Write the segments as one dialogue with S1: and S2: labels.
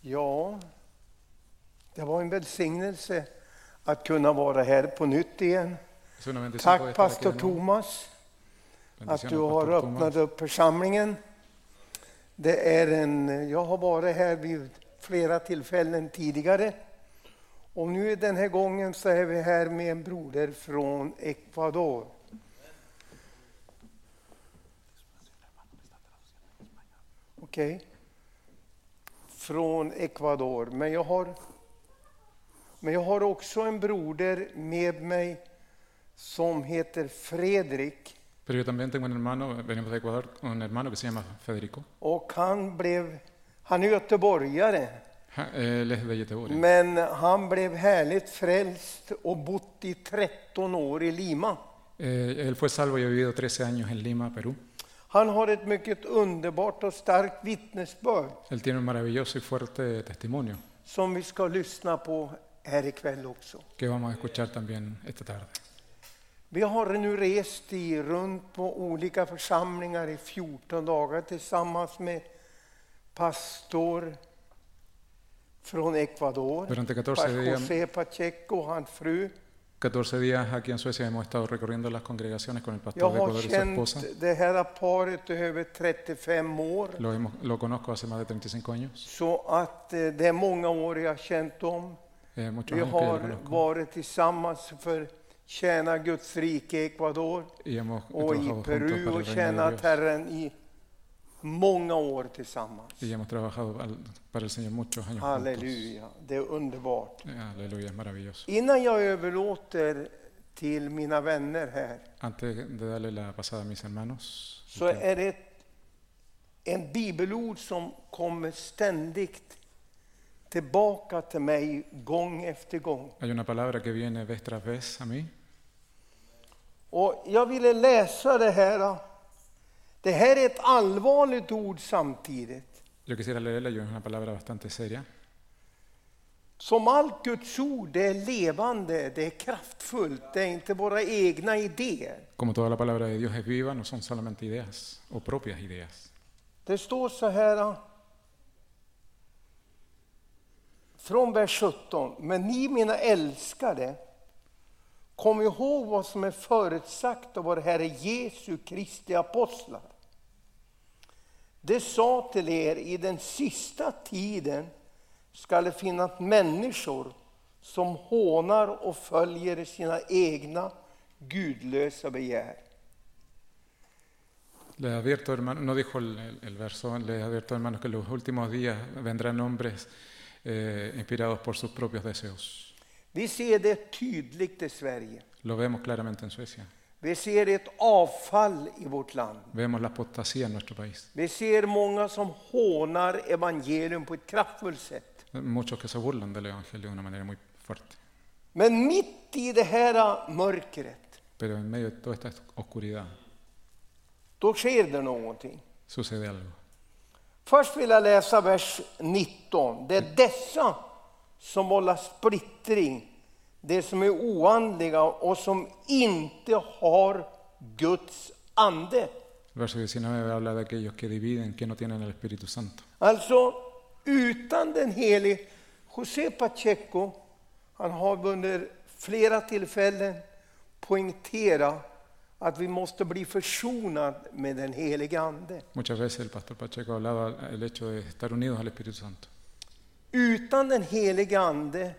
S1: Ja, det var en välsignelse att kunna vara här på nytt igen.
S2: Es una bendición poder
S1: Tack
S2: estar
S1: pastor
S2: aquí de nuevo.
S1: Thomas att
S2: Bendiciones,
S1: du har
S2: pastor Tomás.
S1: öppnat upp församlingen. Det är en, jag har varit här vid flera tillfällen tidigare. Och nu den här gången så är vi här med en broder från Ecuador. Okej. Från Ecuador. Men jag, har, men jag har också en broder med mig som heter Fredrik.
S2: Pero yo también tengo un hermano, venimos de Ecuador, un hermano que se llama Federico.
S1: Och han blev, han är göteborgare,
S2: Ja, Él es de Göteborg.
S1: men han blev härligt frälst och bott i 13 år i Lima.
S2: Eh, él fue salvo y ha vivido 13 años en Lima, Perú.
S1: Han har ett mycket underbart och starkt vittnesbörd
S2: Él tiene un maravilloso y fuerte testimonio
S1: som vi ska lyssna på här ikväll också.
S2: que vamos a escuchar también esta tarde.
S1: Vi har nu rest i, runt på olika församlingar i 14 dagar tillsammans med pastor från Ecuador,
S2: Durante 14 días,
S1: José Pacheco och hans fru.
S2: 14 días aquí en Suecia hemos estado recorriendo las congregaciones con el
S1: Jag
S2: pastor
S1: har
S2: de Ecuador y su esposa.
S1: känt det här paret i över 35 år.
S2: Lo, hemos- lo conozco hace más de 35 años,
S1: Så att eh, det är många år jag har känt dem.
S2: eh, muchos
S1: Vi
S2: años que yo lo
S1: har
S2: conozco.
S1: varit tillsammans för att tjäna Guds rike i Ecuador
S2: Y hemos
S1: och
S2: trabajado
S1: i
S2: juntos para
S1: Peru
S2: el
S1: och
S2: reino de
S1: tjänat
S2: Dios.
S1: Herren i många år tillsammans.
S2: Y hemos trabajado al- para el Señor muchos años juntos.
S1: Halleluja, det är underbart.
S2: Eh, Aleluya, es maravilloso.
S1: Innan jag överlåter till mina vänner här
S2: Antes de darle la pasada a mis hermanos,
S1: så är det ett, en bibelord som kommer ständigt tillbaka till mig gång efter gång.
S2: hay una palabra que viene vez tras vez a mí.
S1: Och jag ville läsa det här. Det här är ett allvarligt ord samtidigt.
S2: Yo quisiera leerla, yo es una palabra bastante seria.
S1: Som allt Guds ord, det är levande, det är kraftfullt, det är inte våra egna idéer.
S2: Como toda la palabra de Dios es viva, no son solamente ideas o propias ideas.
S1: Det står så här. Från vers 17. Men ni mina älskade, kom ihåg vad som är förutsagt av vår Herre Jesu Kristi apostlar. Det sa till er, i den sista tiden ska det finnas människor som hånar och följer sina egna gudlösa begär.
S2: Les advierto, hermano, no dijo el, el- el verso, les advierto, hermanos, que en los últimos días vendrán hombres eh, inspirados por sus propios deseos.
S1: Vi ser det tydligt i Sverige.
S2: Lo vemos claramente en Suecia.
S1: Vi ser ett avfall i vårt land.
S2: Vemos la apostasía en nuestro país.
S1: Vi ser många som hånar evangelium på ett kraftfullt sätt.
S2: Muchos que se burlan del Evangelio de una manera muy fuerte.
S1: Men mitt i det här mörkret,
S2: Pero en medio de toda esta oscuridad
S1: då sker det någonting.
S2: sucede algo.
S1: Först vill jag läsa vers 19. Det är dessa som vållar splittring, det som är oandliga och som inte har Guds ande.
S2: El verso 19 habla de aquellos que dividen, que no tienen el Espíritu Santo.
S1: Alltså utan den helige José Pacheco, han har under flera tillfällen poängterat att vi måste bli försonade med den helige Ande.
S2: Muchas veces el pastor Pacheco hablaba el hecho de estar unidos al Espíritu Santo.
S1: Utan den helige Ande,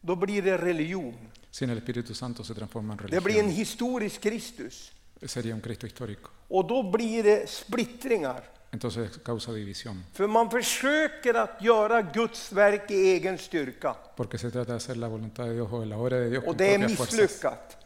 S1: då blir det religion.
S2: Sin el Espíritu Santo se transforma en
S1: Det blir en
S2: religión.
S1: historisk Kristus.
S2: Sería un Cristo histórico.
S1: Och då blir det splittringar.
S2: Entonces causa división,
S1: För man försöker att göra Guds verk i egen styrka.
S2: porque se trata de hacer la voluntad de Dios o de la obra de Dios
S1: Och
S2: con
S1: det är
S2: propias fuerzas,
S1: misslyckat.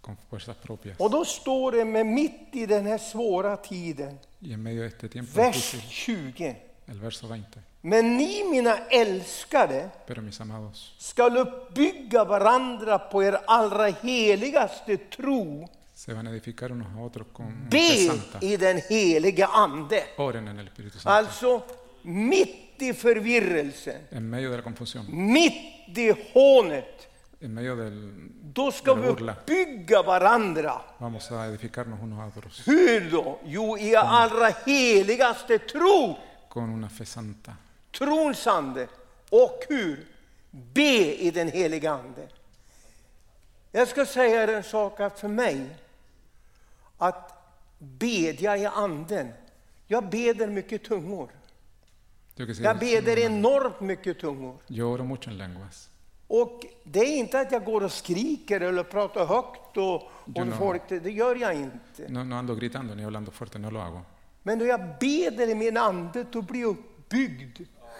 S2: con fuerzas propias.
S1: Och då står det med mitt i den här svåra tiden,
S2: Y en medio de este tiempo
S1: vers
S2: difícil,
S1: 20.
S2: el verso 20.
S1: Men ni mina älskade
S2: Pero mis amados,
S1: skall uppbygga varandra på er allra heligaste tro.
S2: se van a edificar unos a otros con fe
S1: Be
S2: santa.
S1: i den heliga ande.
S2: Oren en el Espíritu Santo.
S1: Alltså mitt i förvirrelsen,
S2: En medio de la confusión,
S1: mitt i hånet,
S2: en medio del...
S1: då ska
S2: Men
S1: vi
S2: Orla.
S1: uppbygga varandra.
S2: Vamos a edificarnos unos a otros
S1: Hur då? Jo, i er allra heligaste tro.
S2: con una fe santa.
S1: trons ande och hur? Be i den heliga ande. Jag ska säga er en sak att för mig, att bedja i anden. Jag beder mycket tungor.
S2: Yo, que sé-
S1: Jag beder enormt mycket tungor.
S2: yo oro mucho en lenguas.
S1: Och det är inte att jag går och skriker eller pratar högt och,
S2: Du
S1: och
S2: når.
S1: folk, det gör jag inte.
S2: No, no ando gritando ni hablando fuerte, no lo hago.
S1: Men då jag beder i min ande, då blir jag uppbyggd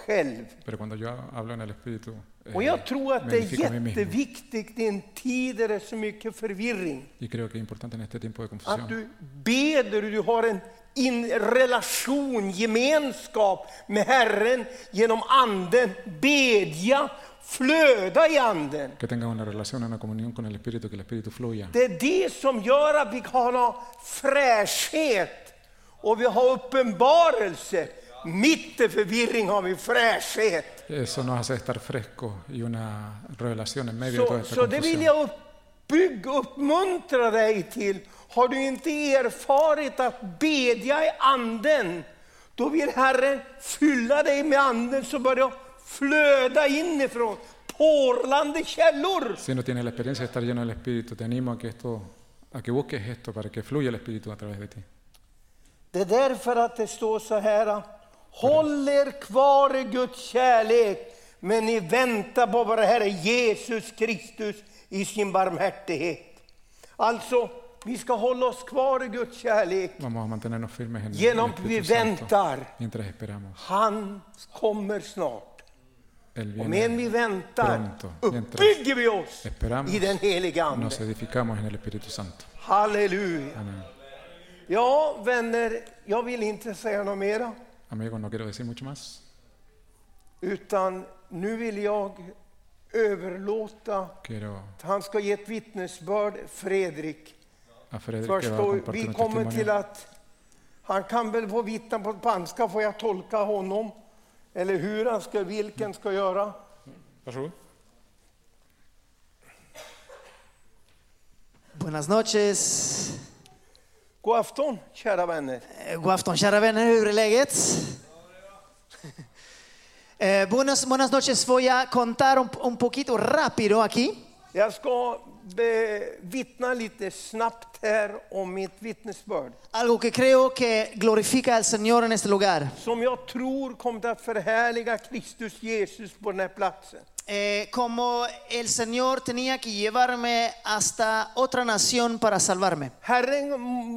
S1: själv.
S2: Pero cuando yo hablo en el Espíritu, eh,
S1: Och jag tror att
S2: me
S1: det är
S2: edifico a mí mismo.
S1: jätteviktigt i en tid där det är så mycket förvirring.
S2: Y creo que es importante en este tiempo de confusión
S1: Att du beder och du har en in relation, gemenskap med Herren genom anden. Bedja, flöda i anden.
S2: que tengas una relación, una comunión con el Espíritu, que el Espíritu fluya.
S1: Det är det som gör att vi kan ha fräschhet och vi har uppenbarelse. Mitt i förvirring har vi fräschhet.
S2: Eso nos hace estar frescos y una revelación en medio de toda
S1: Så,
S2: esta
S1: så det vill
S2: confusión.
S1: jag uppbygga, uppmuntra dig till. Har du inte erfarit att bedja i anden, då vill Herren fylla dig med anden så börjar flöda inifrån. Porlande källor.
S2: Si no tienes la experiencia de estar lleno del Espíritu, te animo a que esto, a que busques esto para que fluya el Espíritu a través de ti.
S1: Det är därför att det står så här. Håll er kvar i Guds kärlek, men ni väntar på vår Herre Jesus Kristus i sin barmhärtighet. Alltså, vi ska hålla oss kvar i Guds kärlek
S2: Vamos a mantenernos firmes en el- en
S1: genom
S2: el
S1: att vi
S2: Espíritu Santo
S1: väntar.
S2: mientras esperamos.
S1: Han kommer snart.
S2: Él
S1: Och medan
S2: viene,
S1: vi väntar
S2: pronto, mientras
S1: uppbygger vi oss
S2: esperamos,
S1: i den heliga Ande.
S2: nos edificamos en el Espíritu Santo.
S1: Halleluja.
S2: Amén.
S1: Ja, vänner, jag vill inte säga något mera.
S2: Amigos, no quiero decir mucho más.
S1: Utan nu vill jag överlåta,
S2: Quiero
S1: han ska ge ett vittnesbörd, Fredrik.
S2: a Fredrik que va a
S1: Förstår,
S2: compartir
S1: vi
S2: un
S1: kommer till
S2: testimonio.
S1: att, han kan väl få vittna på spanska, får jag tolka honom? Eller hur han ska, vilken ska göra?
S2: Varsågod.
S3: Buenas noches.
S1: God afton, kära vänner.
S3: Eh, God afton kära vänner, hur är läget? Eh, buenas, buenas noches, voy a contar un, un poquito rápido aquí.
S1: Jag ska be- vittna lite snabbt här om mitt vittnesbörd.
S3: Algo que creo que glorifica al Señor en este lugar.
S1: Som jag tror kommer att förhärliga Kristus Jesus på den här platsen.
S3: Eh, como el Señor tenía que llevarme hasta otra nación para salvarme.
S1: Herren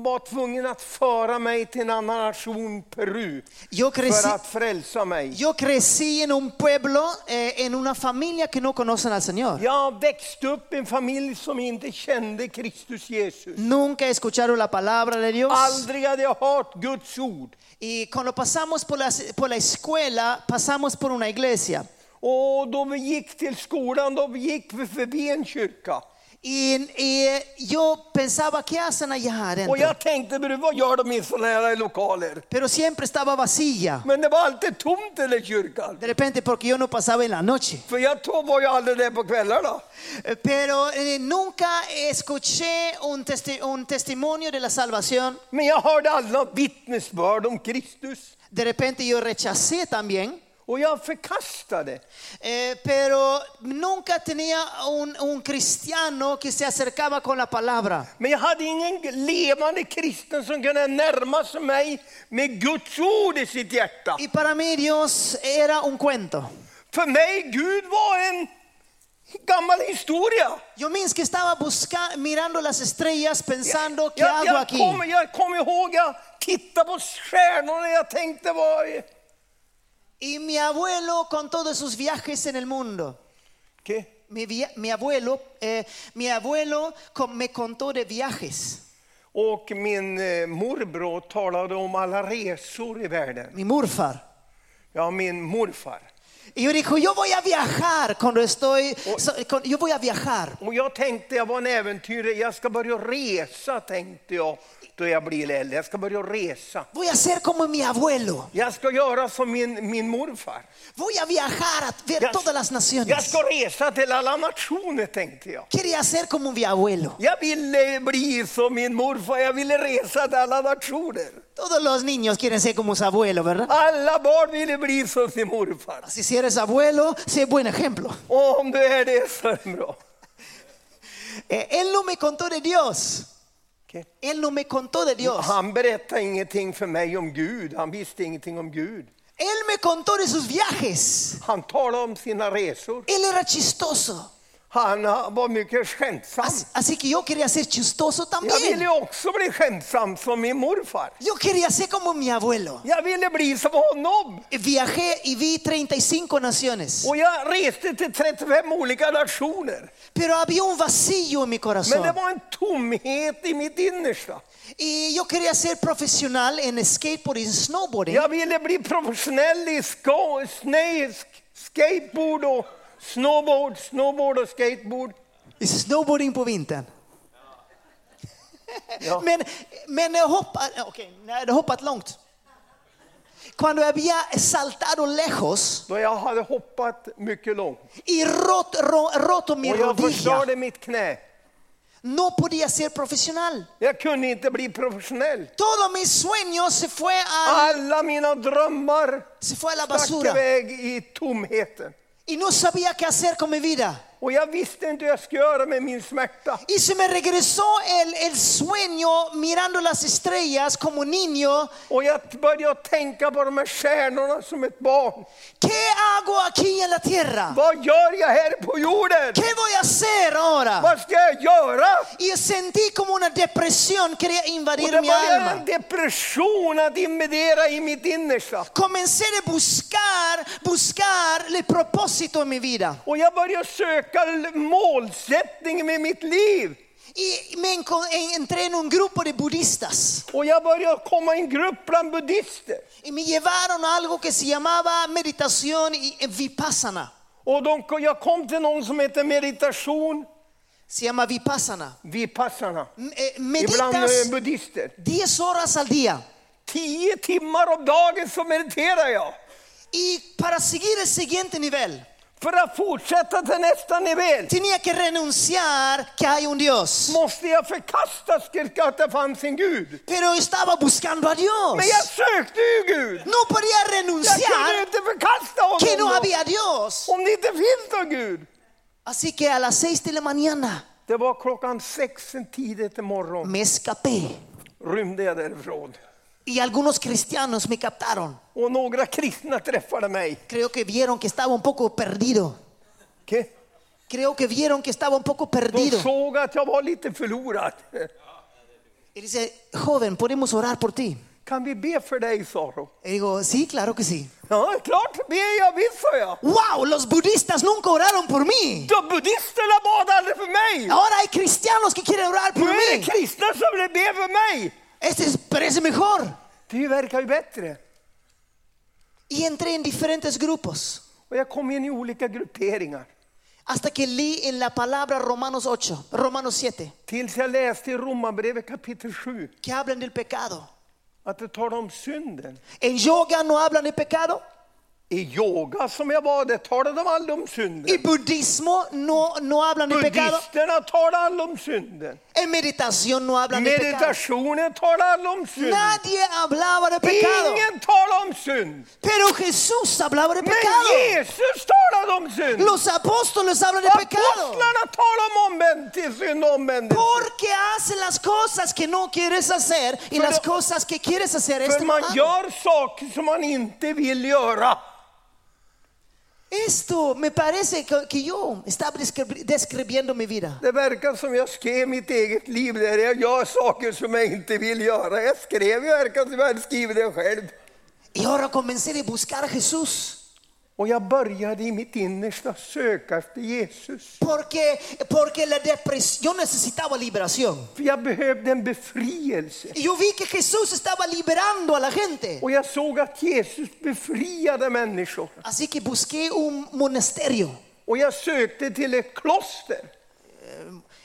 S1: var tvungen att föra mig till en annan nation, Peru,
S3: Yo crecí,
S1: för att frälsa mig.
S3: yo crecí en un pueblo, eh, en una familia que no conocen al Señor.
S1: Jag växte upp i en familj som inte kände Kristus Jesus.
S3: Nunca escucharon la palabra de Dios.
S1: Aldrig hade jag hört Guds ord.
S3: Y cuando pasamos por la, por la escuela, pasamos por una iglesia.
S1: Och då vi gick till skolan, då gick vi förbi en kyrka.
S3: Y, y, eh, yo pensaba, ¿qué hacen allá adentro?
S1: Och jag tänkte, "Men du, vad gör de i sådana här lokaler?
S3: Pero siempre estaba vacía.
S1: Men det var alltid tomt i den kyrkan.
S3: De repente, porque yo no pasaba en la noche.
S1: För jag tog- var ju aldrig där på kvällarna.
S3: Eh, Pero eh, nunca escuché un, testi- un testimonio de la salvación.
S1: Men jag hörde alla vittnesbörd om Kristus.
S3: De repente yo rechacé también.
S1: Och jag förkastade.
S3: Eh, pero nunca tenía un, un cristiano que se acercaba con la palabra.
S1: Men jag hade ingen levande kristen som kunde närma sig mig med Guds ord i sitt hjärta.
S3: Y para mí Dios era un cuento.
S1: För mig, Gud var en gammal historia.
S3: Yo minns que estaba busca- mirando las estrellas pensando, ¿qué
S1: Jag,
S3: hago
S1: jag,
S3: aquí?
S1: kom, jag kom ihåg, jag tittade på stjärnorna, jag tänkte vad...
S3: Y mi abuelo con todos sus viajes en el mundo.
S1: Okej.
S3: Mi, via- mi abuelo, eh, mi abuelo con- me contó de viajes.
S1: Och min eh, morbror talade om alla resor i världen.
S3: Mi morfar.
S1: Ja, min morfar.
S3: Y yo dijo, yo voy a viajar cuando estoy, so- con- yo voy a viajar.
S1: Och jag tänkte, jag var en äventyrare, jag ska börja resa tänkte jag då jag blir äldre. Jag ska börja resa.
S3: Voy a ser como mi abuelo.
S1: Jag ska göra som min, min morfar.
S3: Voy a viajar a ver
S1: Jag,
S3: todas las
S1: jag
S3: naciones.
S1: ska resa till alla nationer tänkte jag.
S3: Quería ser como mi abuelo.
S1: Jag ville bli som min morfar, jag ville resa till alla nationer.
S3: Todos los niños quieren ser como su abuelo, ¿verdad?
S1: Alla barn ville bli som sin morfar.
S3: Así si eres abuelo, sé buen ejemplo.
S1: Och om du är det så är det bra.
S3: Eh, él no me contó de Dios.
S1: Okej.
S3: Él no me contó de Dios.
S1: Han berättade ingenting för mig om Gud. Han visste ingenting om Gud.
S3: Él me contó de sus viajes.
S1: Han talade om sina resor.
S3: Él era chistoso.
S1: Han eh, var mycket skämtsam.
S3: Así, así que yo quería ser chistoso
S1: Jag ville
S3: también.
S1: ju också bli skämtsam som min morfar.
S3: Yo quería ser como mi abuelo.
S1: Jag ville bli som honom.
S3: Viajé y vi 35 naciones,
S1: Och jag reste till 35 olika nationer.
S3: pero había un vacío en mi
S1: Men
S3: corazón.
S1: det var en tomhet i mitt innersta.
S3: Y yo quería ser profesional en skateboard y snowboarding.
S1: Jag ville bli professionell i ska, sne, sk- skateboard och snowboard, snowboard och skateboard.
S3: I Snowboarding på vintern.
S1: Ja.
S3: Men, men jag hoppade, okej, jag hade hoppat långt. Cuando había saltado lejos
S1: Då jag hade hoppat mycket långt.
S3: y roto, ro- roto mi
S1: Och jag
S3: rodilla,
S1: förstörde mitt knä.
S3: no podía ser profesional.
S1: Jag kunde inte bli professionell.
S3: Todos mis sueños se fue a,
S1: Alla mina drömmar
S3: se fue a la
S1: stack
S3: basura
S1: iväg i tomheten.
S3: y no sabía qué hacer con mi vida.
S1: Och jag visste inte hur jag skulle göra med min smärta.
S3: Y se me regresó el, el sueño mirando las estrellas como niño.
S1: Och jag började att tänka på de här stjärnorna som ett barn.
S3: ¿Qué hago aquí en la tierra?
S1: Vad gör jag här på jorden?
S3: ¿Qué voy a hacer ahora?
S1: Vad ska jag göra?
S3: Y sentí como una depresión quería
S1: Och
S3: invadir
S1: det
S3: mi
S1: började en
S3: alma.
S1: depression att invadera i mitt innersta.
S3: Comencé a buscar, buscar el propósito en mi vida.
S1: Och jag började söka l- målsättning med mitt liv.
S3: Y me enco- en- entré en un grupo de budistas.
S1: Och jag började komma i en grupp bland buddister.
S3: Y me llevaron a algo que se llamaba meditación y eh, vipassana.
S1: Och de, jag kom till någon som heter meditation,
S3: Se llama vipassana.
S1: vipassarna.
S3: M- eh,
S1: Ibland eh,
S3: Meditas
S1: buddister.
S3: 10 horas al día.
S1: Tio timmar om dagen så mediterar jag.
S3: Y para seguir el siguiente nivel,
S1: För att fortsätta till nästa nivå
S3: tenía que renunciar que hay un Dios.
S1: måste jag förkasta styrka att det fanns en Gud.
S3: Pero estaba buscando a Dios.
S1: Men jag sökte ju Gud.
S3: No podía
S1: Jag kunde
S3: renunciar
S1: inte förkasta
S3: que no
S1: honom då,
S3: había Dios.
S1: om det inte finns någon Gud.
S3: Así que a las 6 de la mañana
S1: Det var klockan sex en tidigt i morgon
S3: me escapé.
S1: rymde jag därifrån.
S3: Y algunos cristianos me captaron.
S1: Och några kristna träffade mig.
S3: Creo que vieron que estaba un poco perdido.
S1: Okej?
S3: Creo que vieron que estaba un poco
S1: De
S3: perdido.
S1: såg att jag var lite förlorad.
S3: Y dice, joven, podemos orar por ti.
S1: Kan vi be för dig, sa de.
S3: Y digo, sí, claro que sí.
S1: Ja, klart ber jag, visst, sa jag.
S3: ¡Wow! Los budistas nunca oraron por mí.
S1: De buddisterna bad aldrig för mig.
S3: Ahora hay cristianos que quieren orar
S1: Nu
S3: por
S1: är
S3: mí.
S1: det kristna som vill be för mig.
S3: Este es- parece mejor.
S1: Det verkar ju bättre.
S3: Y entré en diferentes grupos
S1: Och jag kom in i olika grupperingar.
S3: hasta que leí en la palabra Romanos 8, Romanos 7,
S1: Tills jag läste i Romarbrevet kapitel 7
S3: que hablan del pecado.
S1: att det talar om synden.
S3: En yoga no hablan de pecado.
S1: I yoga som jag var, det talade de aldrig om synden.
S3: Y budismo no, no hablan de pecado.
S1: Buddisterna talar aldrig om synden.
S3: En meditación no hablan de pecado.
S1: Meditationen talar aldrig om synd.
S3: Nadie hablaba de pecado.
S1: Ingen talar om synd.
S3: Pero Jesús hablaba de
S1: Men
S3: pecado.
S1: Jesus talade om synd.
S3: Los apóstoles hablan de pecado.
S1: Apostlarna talar om omvänd synd och omvändelse.
S3: Porque hacen las cosas que no quieres hacer y
S1: Pero-
S3: las cosas que quieres hacer
S1: För
S3: este
S1: man
S3: mal.
S1: gör saker som man inte vill göra.
S3: Esto me parece que, que yo estaba descri- describiendo mi vida.
S1: Det verkar som jag skrev mitt eget liv där jag gör saker som jag inte vill göra. Jag skrev, det verkar som jag hade skrivit det själv.
S3: Y ahora comencé a buscar a Jesús.
S1: Och jag började i mitt innersta söka efter Jesus.
S3: Porque, porque la depresión, yo necesitaba liberación.
S1: För jag behövde en befrielse.
S3: Y yo vi que Jesús estaba liberando a la gente.
S1: Och jag såg att Jesus befriade människor.
S3: Así que busqué un monasterio
S1: Och jag sökte till ett kloster.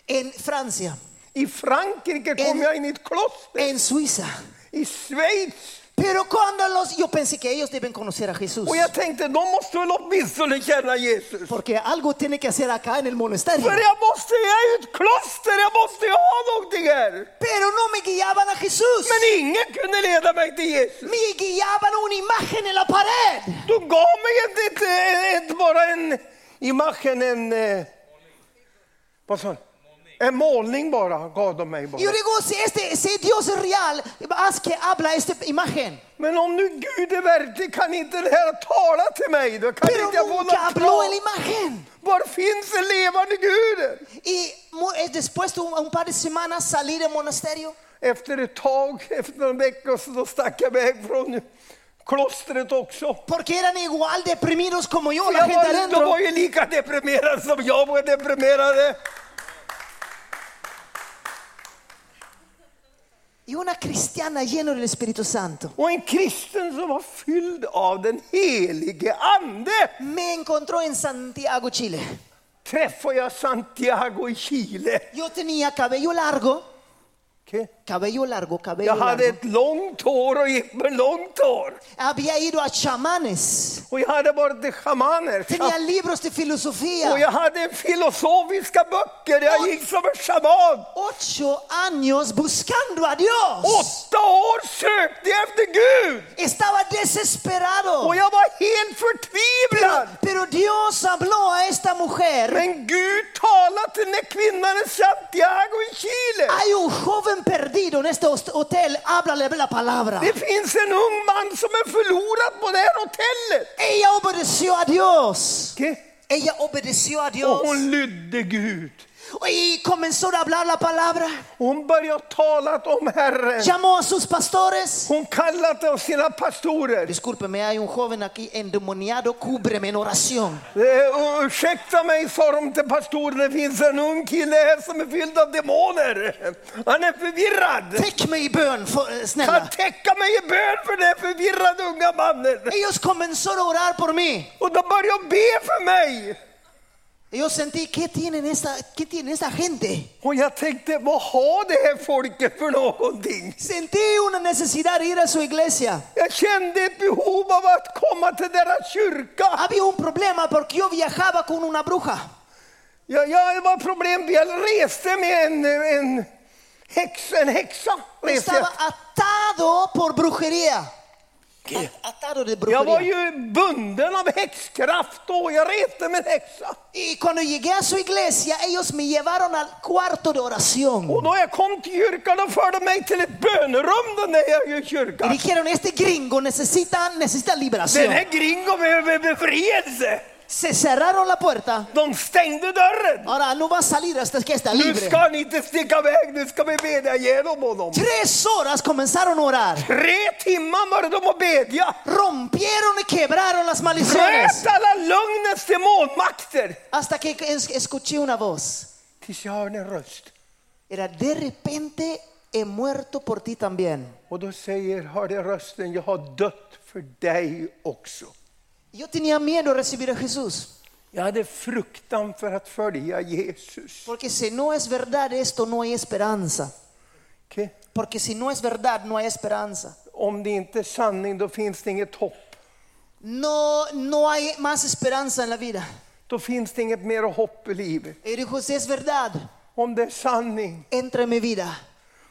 S3: en Francia,
S1: I Frankrike kom
S3: En-
S1: jag in i ett kloster.
S3: en Suiza,
S1: I Schweiz,
S3: Pero cuando los, yo pensé que ellos deben conocer a Jesús.
S1: Och jag tänkte, de måste väl åtminstone känna Jesus.
S3: Porque algo tiene que hacer acá en el monasterio.
S1: För jag måste, jag är ju ett kloster, jag måste ju ha någonting här.
S3: Pero no me guiaban a Jesús.
S1: Men ingen kunde leda mig till Jesus.
S3: Me guiaban a una imagen en la pared.
S1: De gav mig inte ett, ett, ett, bara en imagen, en... eh, Vad sa du? En målning bara gav de mig bara.
S3: Yo digo, si, este, si Dios es real, haz que habla esta imagen.
S1: Men om nu Gud är verklig kan inte det här tala till mig. Då kan
S3: Pero
S1: inte jag få
S3: nunca
S1: något
S3: habló en la
S1: klart.
S3: imagen.
S1: Var finns den levande guden?
S3: Y mu- eh, después de un, un par de semanas salí del monasterio.
S1: Efter ett tag, efter någon vecka, så då stack jag iväg från klostret också.
S3: Porque eran igual deprimidos como yo, la
S1: Jag
S3: gente
S1: var, de
S3: adentro.
S1: var ju lika deprimerade som jag var deprimerad.
S3: Y una cristiana llena del Espíritu Santo.
S1: Och en kristen som var fylld av den helige ande
S3: Me encontró en Santiago, Chile.
S1: träffade jag Santiago i Chile.
S3: Yo tenía cabello largo,
S1: Okej.
S3: cabello largo, cabello
S1: Jag hade
S3: largo.
S1: ett långt hår och gick med långt hår.
S3: Había ido a chamanes.
S1: Och jag hade varit schamaner.
S3: Tenía libros de
S1: Och jag
S3: filosofía.
S1: hade filosofiska böcker. Jag gick som en schaman.
S3: Ocho años buscando a Dios.
S1: Åtta år sökte jag efter Gud.
S3: Estaba desesperado.
S1: Och jag var helt förtvivlad.
S3: Pero Dios habló a esta mujer.
S1: Men Gud talade till den här kvinnan i Santiago i Chile.
S3: Hay un joven perdido en este host- hotel. Háblale la palabra.
S1: Det finns en ung man som är förlorad på det här hotellet.
S3: Ella obedeció a Dios.
S1: Okej?
S3: Ella obedeció a
S1: Och
S3: Dios.
S1: hon lydde Gud.
S3: Y comenzó a hablar la palabra.
S1: Och Hon började tala om Herren.
S3: Llamó a sus pastores.
S1: Hon kallade sina pastorer.
S3: Discúlpeme, hay un joven aquí endemoniado. Cúbreme en oración.
S1: Eh, och Ursäkta mig, sa de till pastoren, det finns en ung kille här som är fylld av demoner. Han är förvirrad.
S3: Täckme i bön, för-
S1: Kan
S3: snälla.
S1: täcka mig i bön för den här förvirrade unga mannen.
S3: Ellos comenzaron a orar por mí.
S1: Och de började be för mig.
S3: Y Yo sentí, ¿qué tienen esta, qué tiene esta gente?
S1: Och jag tänkte, vad har det här folket för någonting?
S3: Sentí una necesidad de ir a su iglesia.
S1: Jag kände ett behov av att komma till deras kyrka.
S3: Había un problema porque yo viajaba con una bruja.
S1: Jag, jag det var problem, jag reste med en, en, häx, en häxa. Reste.
S3: Estaba
S1: jag.
S3: atado por brujería. A- Atado de
S1: Jag var
S3: brujería.
S1: ju bunden av häxkraft då, jag reste med en häxa.
S3: Y cuando llegué a su iglesia, ellos me llevaron al cuarto de oración.
S1: Och då jag kom till kyrkan och förde mig till ett bönerum den där i
S3: Y
S1: kyrkan.
S3: dijeron, este gringo necesita, necesita
S1: Den
S3: liberación.
S1: här gringon behöver befrielse.
S3: Se cerraron la puerta.
S1: De stängde dörren.
S3: Ahora no va a salir hasta que está
S1: Nu
S3: libre.
S1: ska han inte sticka iväg, nu ska vi bedja igenom honom.
S3: Tres horas comenzaron a orar.
S1: Tre timmar var de och bedja.
S3: rompieron y quebraron las
S1: Bröt
S3: maldiciones
S1: alla lögnens demonmakter.
S3: hasta que es- escuché una voz.
S1: Tills jag hörde en röst.
S3: Era de repente he muerto por ti también.
S1: Och då säger, hörde jag rösten, jag har dött för dig också.
S3: Yo tenía miedo de recibir a Jesús,
S1: Jag hade fruktan för att följa Jesus.
S3: porque si no es verdad esto no hay esperanza.
S1: Okej?
S3: Porque si no es verdad no hay esperanza.
S1: Om det inte är sanning, då finns det inget hopp.
S3: No no hay más esperanza en la vida.
S1: Då finns det inget mer hopp i livet.
S3: Y dijo, si es verdad,
S1: Om det är sanning,
S3: entra en mi vida.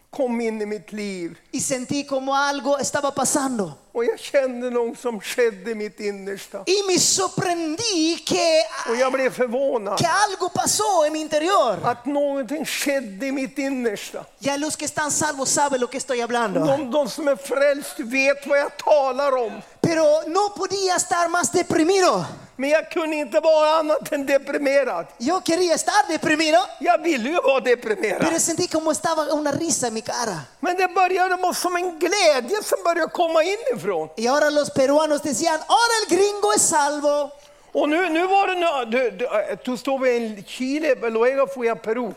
S1: kom in i mitt liv.
S3: Y sentí como algo estaba pasando.
S1: Och jag kände någon som skedde i mitt innersta.
S3: Y me sorprendí que,
S1: Och jag blev förvånad.
S3: que algo pasó en mi interior.
S1: Att någonting skedde i mitt innersta.
S3: Ya los que están salvos saben lo que estoy hablando.
S1: De, de som är frälst vet vad jag talar om.
S3: Pero no podía estar más deprimido.
S1: Men jag kunde inte vara annat än deprimerad.
S3: Yo quería estar deprimido,
S1: Jag ville ju vara
S3: pero
S1: deprimerad.
S3: sentí como estaba una risa en mi cara.
S1: Men det började vara som en glädje som började komma inifrån.
S3: Y ahora los peruanos decían, ahora el gringo es salvo.
S1: Och nu, nu var det... Nu, du, du, eh, då står vi i Chile, men luego får jag Peru.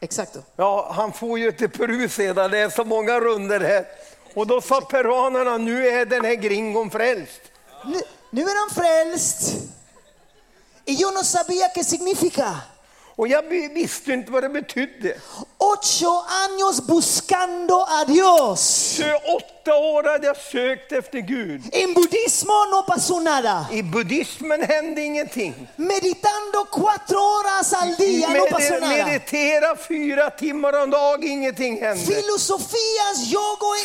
S3: Exacto.
S1: Ja, han får ju till Peru sedan, det är så många runder här. Och då sa peruanerna, nu är den här gringon frälst.
S3: Nu nu är han frälst. Y yo no sabía qué significa.
S1: Och jag vi- visste inte vad det betydde.
S3: Ocho años buscando a Dios.
S1: Så Åtta åtta år hade jag sökt efter Gud.
S3: En budismo no pasó nada.
S1: I buddhismen hände ingenting.
S3: Meditando cuatro horas al día no pasó
S1: Medi-
S3: nada.
S1: meditera fyra timmar om dag, ingenting hände.
S3: Filosofías, yoga, yoga y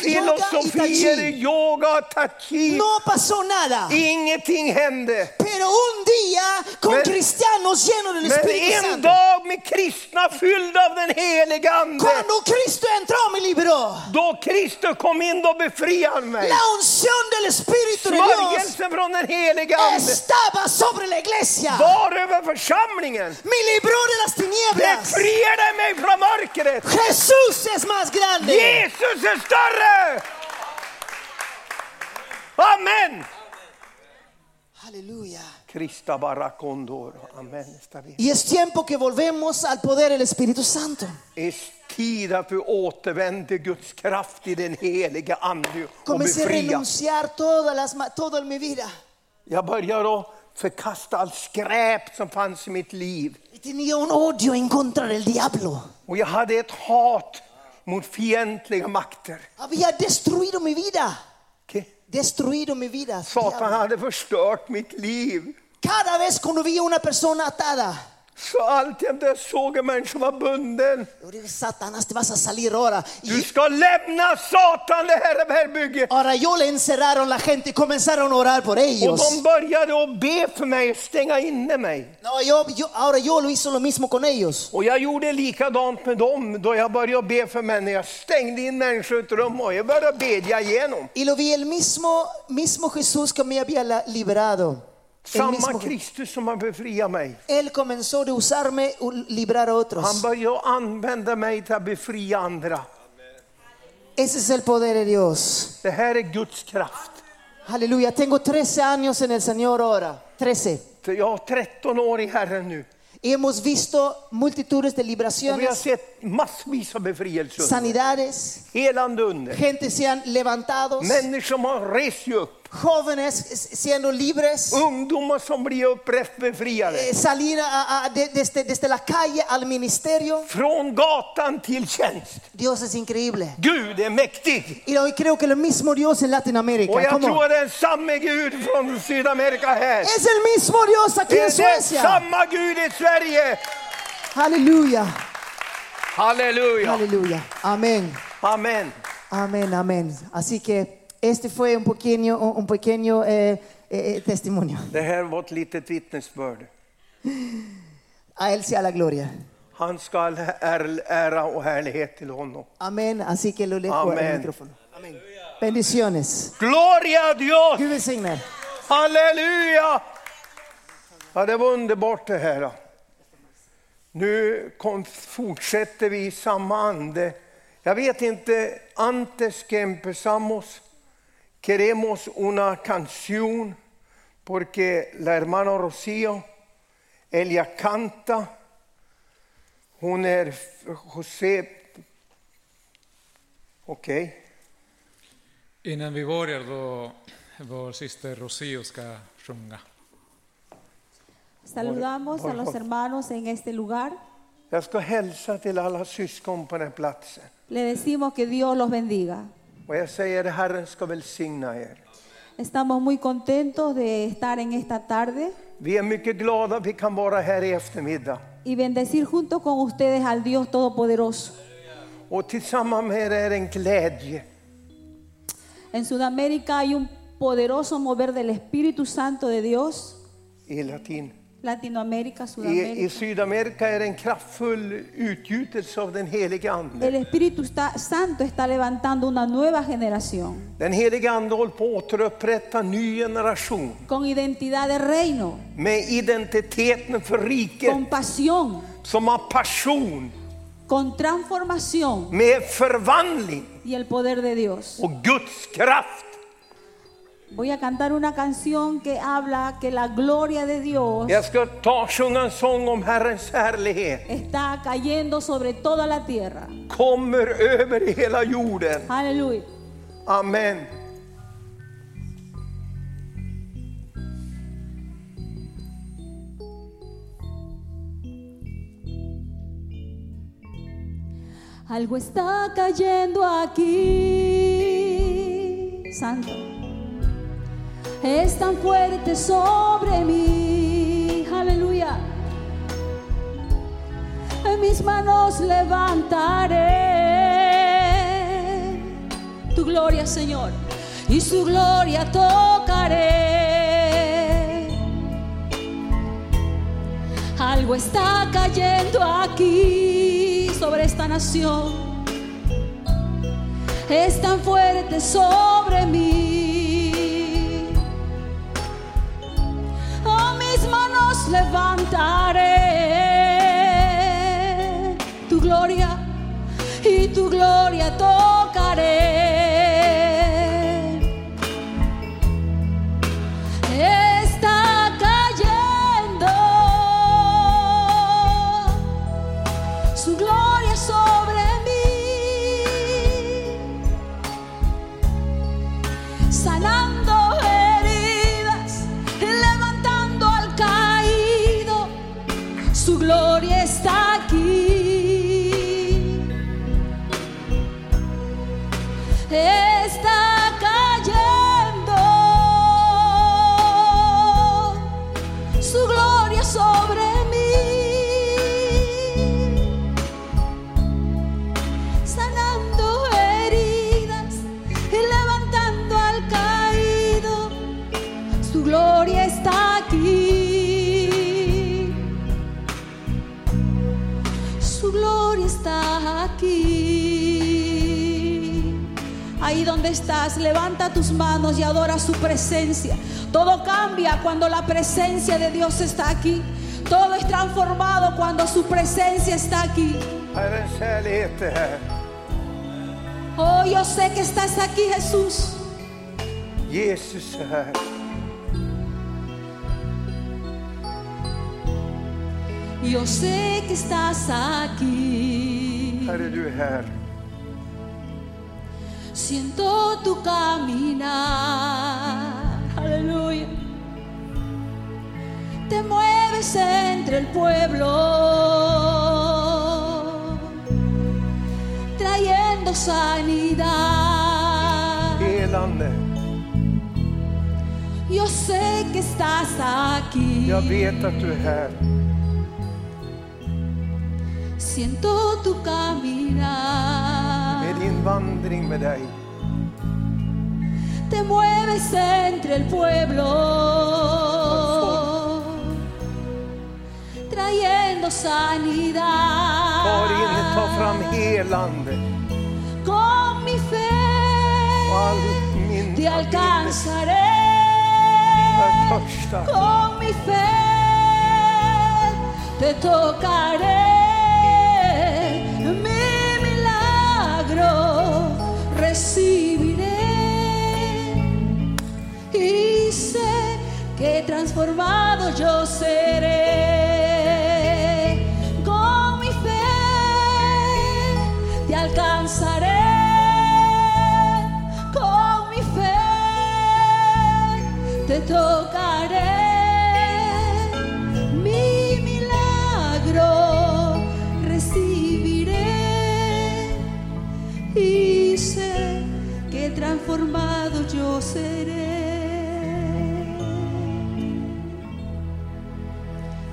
S3: tai
S1: Filosofier,
S3: chi.
S1: yoga, tachi.
S3: No pasó nada.
S1: Ingenting hände.
S3: Pero un día con
S1: Men-
S3: cristianos llenos del
S1: Men
S3: Espíritu
S1: en
S3: Santo.
S1: dag med kristna fyllda av den helige Ande,
S3: Cuando Cristo entró me liberó.
S1: då Kristus kom in, då befriade han mig.
S3: La unción del Espíritu de Dios
S1: Smörjelsen från den helige Ande
S3: estaba sobre la iglesia.
S1: var över församlingen.
S3: Me libró de las tinieblas.
S1: Befriade mig från mörkret.
S3: Jesús es más grande.
S1: Jesus är större! Amen!
S3: Aleluya.
S1: Krista barakondor. Amen. nästa vecka.
S3: Y es tiempo que volvemos al poder del Espíritu Santo.
S1: Det är tid att vi återvänder Guds kraft i den helige Ande och
S3: Comencé a
S1: befrias.
S3: renunciar todas las, ma- todo en mi vida.
S1: Jag börjar att förkasta allt skräp som fanns i mitt liv.
S3: Y Tenía un odio en contra del diablo.
S1: Och jag hade ett hat mot fientliga makter.
S3: Había destruido mi vida.
S1: Okej?
S3: Destruido mi vida.
S1: Satan
S3: diablo.
S1: hade förstört mitt liv.
S3: Cada vez cuando vi a una persona atada,
S1: Så alltjämt när jag såg en människa som var bunden.
S3: yo dije, Satanás, te vas a salir ahora. Y
S1: Du ska lämna Satan det här, det här bygget.
S3: Ahora yo le encerraron la gente y comenzaron a orar por
S1: Och
S3: ellos.
S1: de började att be för mig och stänga inne mig.
S3: No, yo, yo- ahora yo lo hice lo mismo con ellos.
S1: Och jag gjorde likadant med dem då jag började be för människor. Jag stängde in människor i ett rum och jag började bedja igenom.
S3: Y lo vi el mismo, mismo Jesús que me había la- liberado. El
S1: Samma
S3: mismo-
S1: Kristus som har befriat mig.
S3: él comenzó de usarme y librar a
S1: Han
S3: otros.
S1: började att använda mig till att befria andra.
S3: Ese es el poder de Dios.
S1: Det här är Guds kraft.
S3: Aleluya. Tengo 13 años en el Señor ahora. 13.
S1: För Jag är 13 år i Herren nu.
S3: Y hemos visto multitudes de
S1: Och vi har
S3: liberaciones,
S1: sett massvis av befrielse.
S3: sanidades,
S1: Helande under.
S3: gente se han levantados,
S1: Människor som har rest sig upp.
S3: jóvenes siendo libres.
S1: Uh. Ungdomar som blir upprätt befriade.
S3: Eh, salir a- a- de- desde, desde la calle al ministerio,
S1: Från gatan till tjänst.
S3: Dios es increíble.
S1: Gud är mäktig.
S3: Y hoy creo que el mismo Dios en
S1: Och
S3: Latinoamérica.
S1: jag
S3: ¿cómo?
S1: tror det är samme Gud från Sydamerika här.
S3: Es el mismo Dios aquí en
S1: Det är
S3: Suecia.
S1: samma Gud i Sverige.
S3: Aleluya,
S1: Halleluja.
S3: aleluya. Amén,
S1: Amen.
S3: amén, amén. Así que este fue un pequeño, un un pequeño eh, eh, eh, testimonio.
S1: Det här var ett litet vittnesbörd.
S3: A Él sea la gloria.
S1: Han skall är- ära och härlighet till honom.
S3: Amén, así que lo dejo
S1: Amén.
S3: el micrófono. Bendiciones.
S1: Gloria a Dios!
S3: Gud välsigne.
S1: Halleluja! Ja, det var underbart det här. Nu kom, fortsätter vi i samma ande. Jag vet inte, antes que empezamos queremos una canción porque la hermana Rocío, ella canta. Hon är José... Okej.
S2: Innan vi börjar då vår syster Rocío ska sjunga.
S4: Saludamos a los hermanos en este lugar.
S1: Jag ska hälsa till alla syskon på den här platsen.
S4: Le decimos que Dios los bendiga.
S1: Och jag säger Herren ska välsigna er.
S4: Estamos muy contentos de estar en esta tarde
S1: Vi är mycket glada att vi kan vara här i eftermiddag.
S4: y bendecir junto con ustedes al Dios Todopoderoso.
S1: Och tillsammans med er är en glädje.
S4: En Sudamérica hay un poderoso mover del Espíritu Santo de Dios.
S1: I latin.
S4: Latinoamérica,
S1: I, I
S4: Sudamérica.
S1: Sydamerika är det en kraftfull utgjutelse av den helige Ande.
S4: El Espíritu está- Santo está levantando una nueva generación
S1: Den helige Ande håller på att återupprätta ny generation.
S4: con identidad de reino,
S1: Med identiteten för riket.
S4: con pasión,
S1: Som har passion.
S4: con transformación
S1: Med förvandling.
S4: y el poder de Dios.
S1: Och Guds kraft.
S4: Voy a cantar una canción que habla que la gloria de Dios
S1: Jag ska ta sjunga en sång om Herrens härlighet.
S4: está cayendo sobre toda la tierra.
S1: Kommer över hela jorden.
S4: Aleluya.
S1: Amen.
S4: Algo está cayendo aquí. Santo. Es tan fuerte sobre mí. Aleluya. En mis manos levantaré tu gloria, Señor. Y su gloria tocaré. Algo está cayendo aquí sobre esta nación es tan fuerte sobre mí. Oh, mis manos levantaré tu gloria y tu gloria tocaré. Está cayendo su gloria sobre mí, sanando heridas y levantando al caído. Su gloria está aquí. Está cayendo su gloria sobre mí sanando heridas y levantando al caído. Su gloria está aquí. Su gloria está aquí. Ahí donde estás, levanta tus manos y adora su presencia. Todo cambia cuando la presencia de Dios está aquí. Todo es transformado cuando su presencia está aquí.
S1: Herrens härlighet är här.
S4: Oh, yo sé que estás aquí, Jesús.
S1: Jesus är här.
S4: Yo sé que estás aquí.
S1: Herre, du är här.
S4: Siento tu caminar. Aleluya. Te mueves entre el pueblo, trayendo sanidad.
S1: Helande.
S4: Yo sé que estás aquí.
S1: Jag vet att du är här.
S4: Siento tu
S1: Med
S4: caminar.
S1: din vandring med dig.
S4: Te mueves entre el pueblo. Trayendo
S1: Tar in, tar
S4: sanidad.
S1: fram helande.
S4: Con mi
S1: Och all
S4: fe
S1: min
S4: te
S1: är
S4: alcanzaré.
S1: törsta.
S4: Con mi fe te tocaré. Mi milagro recibiré. Y sé que transformado yo seré. Con mi fe te alcanzaré. Con mi fe te tocaré. Mi milagro recibiré. Y sé que transformado yo seré.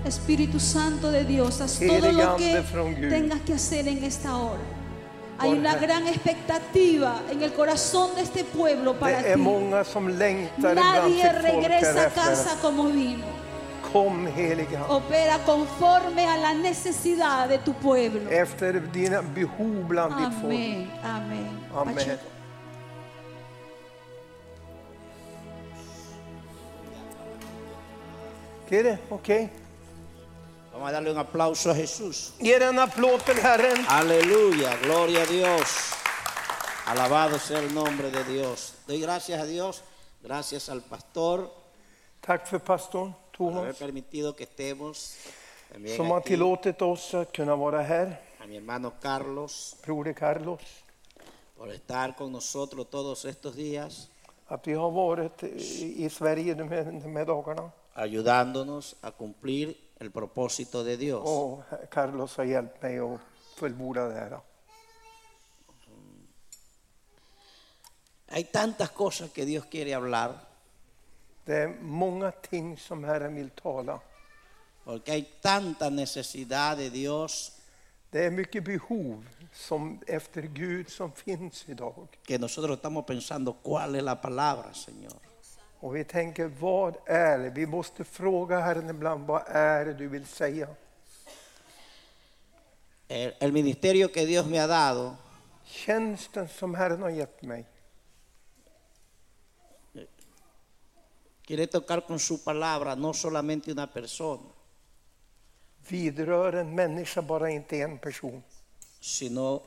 S4: Espíritu Santo de Dios, haz todo lo que
S1: Heligande från Gud.
S4: tengas que hacer en esta hora. Hay
S1: Por
S4: una
S1: här.
S4: gran expectativa en el corazón de este pueblo
S1: Det
S4: para
S1: är
S4: ti.
S1: många som längtar ibland
S4: Nadie
S1: sitt folk
S4: regresa
S1: här
S4: a casa
S1: efter.
S4: como vino.
S1: Kom helige Ande.
S4: Opera conforme a la necesidad de tu pueblo.
S1: Efter dina behov bland ditt folk.
S4: Amén, amén.
S1: Amén.
S4: Pachuco.
S1: Är det okej?
S5: Vamos a darle un aplauso a Jesús.
S1: Ge en applåd till Herren.
S5: Aleluya, gloria a Dios. Alabado sea el nombre de Dios. Doy gracias a Dios, gracias al pastor
S1: Tack för pastorn
S5: por haber
S1: Thomas
S5: permitido que estemos. También
S1: som har
S5: aquí
S1: tillåtit oss att kunna vara här.
S5: a mi hermano Carlos
S1: Broder Carlos.
S5: por estar con nosotros todos estos días,
S1: Att vi har varit i i Sverige de här, de här dagarna.
S5: ayudándonos a cumplir el propósito de Dios.
S1: Och Carlos har hjälpt mig att fullborda det här.
S5: Hay tantas cosas que Dios quiere hablar,
S1: Det är många ting som Herren vill tala.
S5: porque hay tanta necesidad de Dios
S1: Det är mycket behov som efter Gud som finns idag.
S5: que nosotros estamos pensando cuál es la palabra, Señor.
S1: Och vi tänker, vad är det? Vi måste fråga Herren ibland, vad är det du vill säga?
S5: El, el ministerio que Dios me ha dado
S1: Tjänsten som Herren har gett mig
S5: quiere tocar con su palabra no solamente una persona,
S1: vidrör en människa, bara inte en person,
S5: sino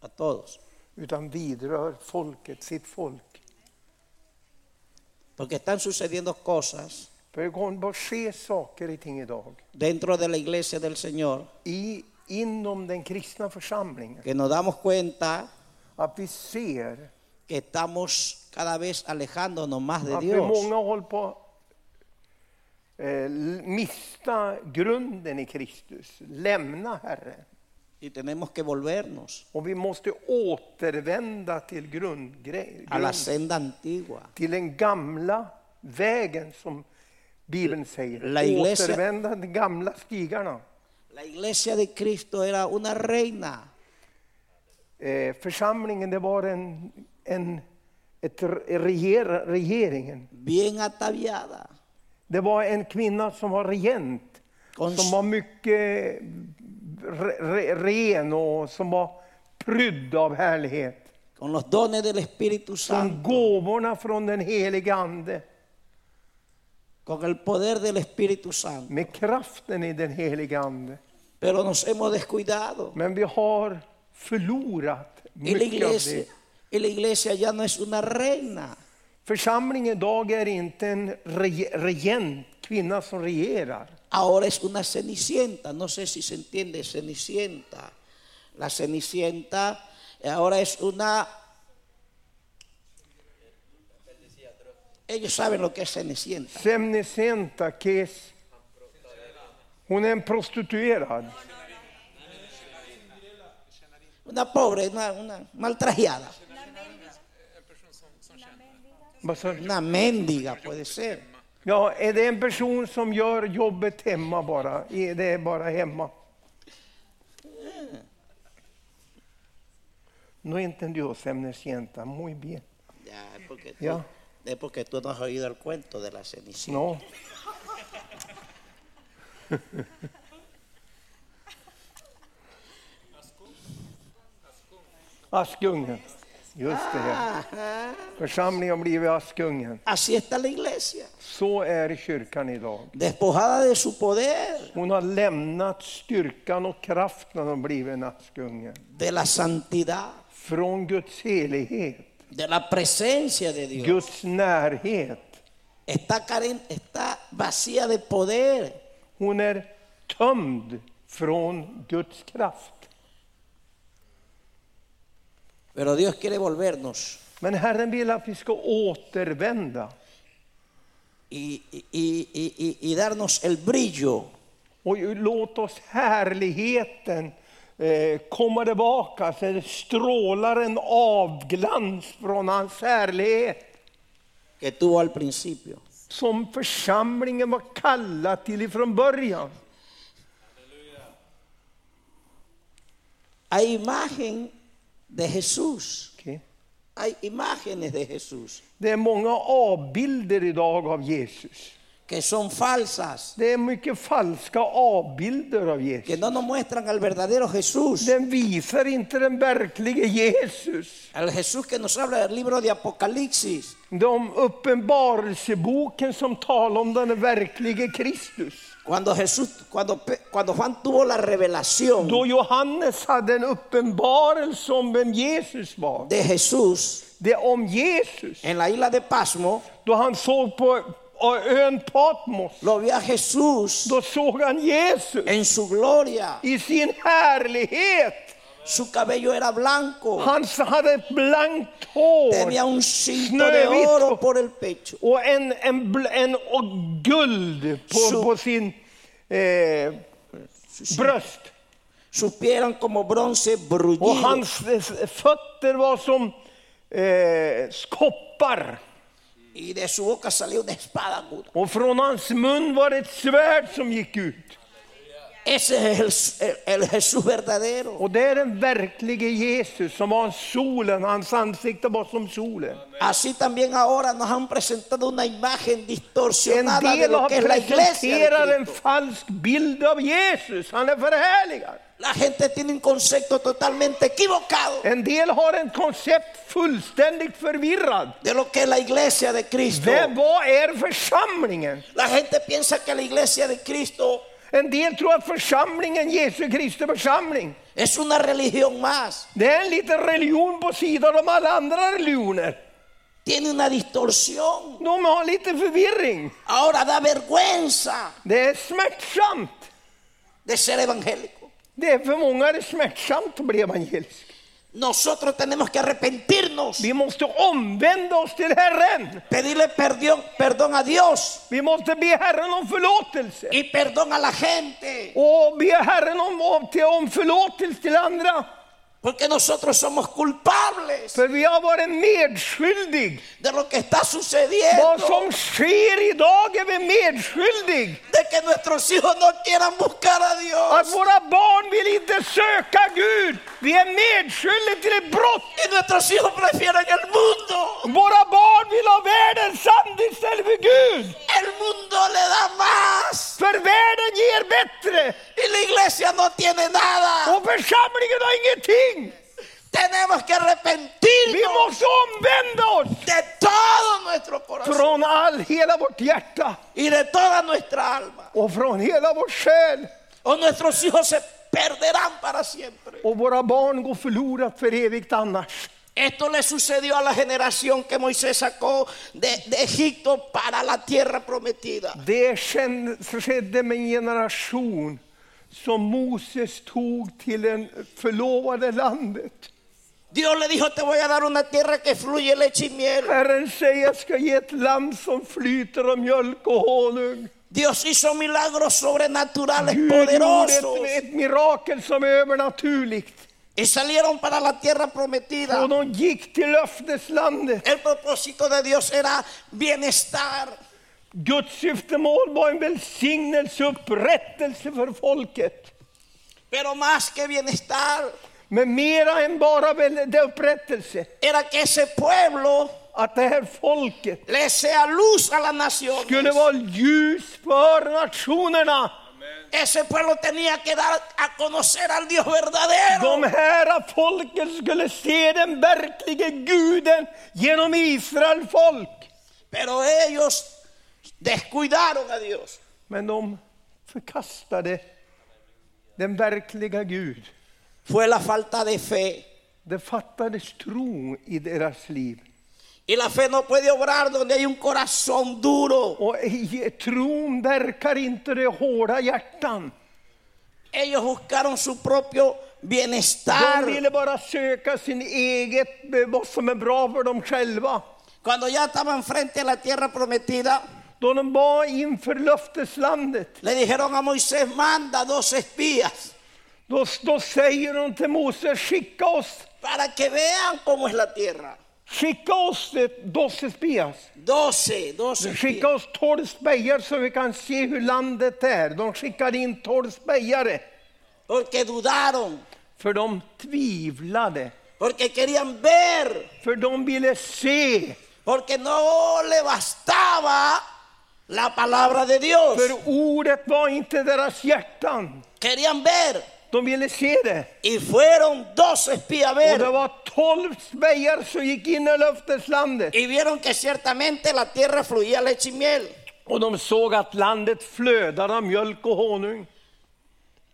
S5: a todos.
S1: utan vidrör folket, sitt folk.
S5: Porque están sucediendo cosas
S1: För det kommer bara ske saker i ting idag,
S5: dentro de la iglesia del Señor
S1: i, inom den kristna församlingen,
S5: que nos damos cuenta
S1: att vi ser
S5: que estamos cada vez alejándonos más de
S1: att vi
S5: Dios.
S1: många håller på att eh, mista grunden i Kristus, lämna Herren.
S5: Y tenemos que volvernos
S1: Och vi måste återvända till grundgrejen,
S5: a la senda antigua.
S1: till den gamla vägen som Bibeln säger.
S5: La iglesia-
S1: Återvända till de gamla stigarna.
S5: La iglesia de Cristo era una reina
S1: Eh, församlingen, det var en, en ett reger, regeringen.
S5: bien ataviada,
S1: Det var en kvinna som var regent,
S5: Konst-
S1: som var mycket re, re, ren och som var prydd av härlighet.
S5: con los dones del Espíritu
S1: Som
S5: Santo,
S1: gåvorna från den helige Ande,
S5: con el poder del Espíritu Santo.
S1: med kraften i den helige Ande.
S5: Pero nos hemos descuidado.
S1: Men vi har förlorat
S5: Y la
S1: mycket av
S5: iglesia,
S1: det.
S5: y la iglesia ya no es una reina,
S1: Församlingen idag är inte en reg- regent, kvinna som regerar.
S5: ahora es una cenicienta. No sé si se entiende, cenicienta. La cenicienta eh, ahora es una... Ellos saben lo que es cenicienta.
S1: Semnicenta Kes. Hon är en prostituerad.
S5: Una pobre, una, una maltrajeada.
S1: Vad sa du?
S5: Una mendiga puede ser.
S1: Ja, är det en person som gör jobbet hemma bara? Är det bara hemma? No entendió semnicenta, muy bien.
S5: Ya, es porque tú,
S1: Ya.
S5: es porque tú no has oído el cuento de la cenicienta.
S1: No. Askungen. Just det. Här. Församlingen har blivit Askungen.
S5: Así está la iglesia,
S1: Så är kyrkan idag.
S5: despojada de su poder,
S1: Hon har lämnat styrkan och kraften och blivit en Askungen.
S5: de la santidad,
S1: Från Guds helighet,
S5: de la presencia de Dios.
S1: Guds närhet.
S5: Está, caren- está vacía de poder.
S1: Hon är tömd från Guds kraft.
S5: Pero Dios quiere volvernos.
S1: Men Herren vill att vi ska återvända
S5: Y, y- y- y- y- y darnos el brillo
S1: och låt oss härligheten eh, komma tillbaka så det strålar en avglans från hans härlighet
S5: que tuvo al principio.
S1: som församlingen var kallad till ifrån början.
S5: Hay imagen de Jesús.
S1: Okej.
S5: Hay imágenes de Jesús
S1: Det är många avbilder idag av Jesus.
S5: que son falsas,
S1: Det är mycket falska avbilder av
S5: que
S1: Jesus.
S5: no nos muestran al verdadero Jesús.
S1: Den visar inte den verkliga Jesus.
S5: Al Jesús que nos habla del libro de Apocalipsis.
S1: De uppenbarelseboken som talar om den verklige Kristus.
S5: Cuando Jesús, cuando, Pe- cuando Juan tuvo la revelación
S1: Då Johannes hade en uppenbarelse om vem Jesus var,
S5: de Jesús
S1: det är om Jesus.
S5: en la isla de Pasmo,
S1: Då han såg på ön Patmos,
S5: lo vio a Jesús
S1: då såg han Jesus
S5: en su gloria.
S1: i sin härlighet.
S5: Su cabello era blanco,
S1: Han hade ett blankt hår
S5: tenía un cinto de oro por el pecho.
S1: och en, en, bl- en och guld
S5: Så-
S1: på, på sin eh, bröst.
S5: Sus pies eran como bronce
S1: Och
S5: brullido.
S1: hans eh, fötter var som eh, koppar.
S5: Y de su boca salió una espada aguda.
S1: Och från hans mun var ett svärd som gick ut.
S5: Ese es el, el- el Jesús verdadero.
S1: Och det är den verklige Jesus som var solen, hans ansikte var som solen.
S5: Así también ahora nos han presentado una imagen
S1: En
S5: distorsionada de
S1: del
S5: lo
S1: har
S5: que es la iglesia.
S1: presenterat
S5: de
S1: en
S5: Cristo.
S1: falsk bild av Jesus, han är förhärligad.
S5: La gente tiene un concepto totalmente equivocado
S1: En del har ett koncept fullständigt förvirrad.
S5: de lo que es la iglesia de Cristo.
S1: Det, vad är församlingen?
S5: La gente piensa que la iglesia de Cristo
S1: En del tror att församlingen, Jesu Kristi församling,
S5: es una religión más.
S1: det är en liten religion på sidan om alla andra religioner.
S5: Tiene una distorsión.
S1: De har lite förvirring.
S5: Ahora da vergüenza
S1: Det är smärtsamt.
S5: de ser evangélico.
S1: Det är för många är det smärtsamt att bli evangelisk.
S5: Nosotros tenemos que arrepentirnos,
S1: Vi måste omvända oss till Herren.
S5: pedirle perdón, perdón a Dios
S1: Vi måste be Herren om förlåtelse.
S5: y perdón a la gente.
S1: Och be Herren om, om, till- om förlåtelse till andra.
S5: Porque nosotros somos culpables
S1: För vi har varit medskyldig.
S5: de lo que está
S1: Vad
S5: sucediendo.
S1: som sker idag är vi medskyldig.
S5: De que nuestros hijos no quieran buscar a
S1: Att
S5: Dios.
S1: våra barn vill inte söka Gud. Vi är medskyldiga till ett brott.
S5: Y nuestros hijos prefieren el mundo.
S1: Våra barn vill ha världens sand istället för Gud.
S5: El mundo le da más.
S1: För världen ger bättre.
S5: Y la iglesia no tiene nada.
S1: Och församlingen har ingenting.
S5: Tenemos que
S1: Vi
S5: arrepentirnos
S1: måste omvända oss
S5: de todo nuestro corazón.
S1: från all, hela vårt hjärta
S5: Y de toda nuestra alma.
S1: och från hela vår själ.
S5: O nuestros hijos se perderán para siempre.
S1: Och våra barn går förlorat för evigt annars.
S5: Esto le sucedió a la generación que Moisés sacó de, de Egipto para la tierra prometida.
S1: Det känn- skedde med en generation som Moses tog till det förlovade landet.
S5: Dios le dijo, te voy a dar una tierra que fluye leche y miel.
S1: Herren säger jag ska ge ett land som flyter av mjölk och honung.
S5: Dios hizo milagros sobrenaturales
S1: Gud
S5: poderosos.
S1: gjorde ett, ett mirakel som är övernaturligt.
S5: Y salieron para la tierra prometida.
S1: Och de gick till löfteslandet.
S5: El propósito de Dios era bienestar.
S1: Guds syftemål var en välsignelse och upprättelse för folket.
S5: Pero más que bienestar,
S1: Men mera än bara väl- det upprättelse,
S5: era que ese pueblo
S1: att det här folket
S5: le sea luz a la nación.
S1: skulle vara ljus för nationerna.
S5: Ese pueblo tenía que dar a conocer al Dios verdadero.
S1: De här folket skulle se den verklige guden genom Israel folk.
S5: Pero ellos descuidaron a Dios.
S1: Men de förkastade den verkliga Gud.
S5: Fue la falta de fe.
S1: Det fattades tro i deras liv.
S5: Y la fe no puede obrar donde hay un corazón duro.
S1: Och i tron verkar inte det hårda hjärtan.
S5: Ellos buscaron su propio bienestar.
S1: De ville bara söka sin eget, eh, vad som är bra för dem själva.
S5: Cuando ya estaban frente a la tierra prometida,
S1: Då de var inför löfteslandet,
S5: le dijeron a Moisés, manda dos espías
S1: då, då säger de till Moses, skicka oss,
S5: para que vean cómo es la tierra.
S1: skicka oss ett- dos espias.
S5: Doce, doce.
S1: Skicka
S5: espías.
S1: oss tolv spejare så vi kan se hur landet är. De skickade in tolv spejare,
S5: Porque dudaron,
S1: för de tvivlade.
S5: porque querían ver,
S1: För de ville se.
S5: porque no le bastaba la palabra de Dios.
S1: För ordet var inte deras hjärtan.
S5: Querían ver.
S1: De ville se det.
S5: Y fueron doce espías a
S1: Och det
S5: ver.
S1: var tolv spejare som gick in i löfteslandet.
S5: Y vieron que ciertamente la tierra fluía leche y miel.
S1: Och de såg att landet flödade av mjölk och honung.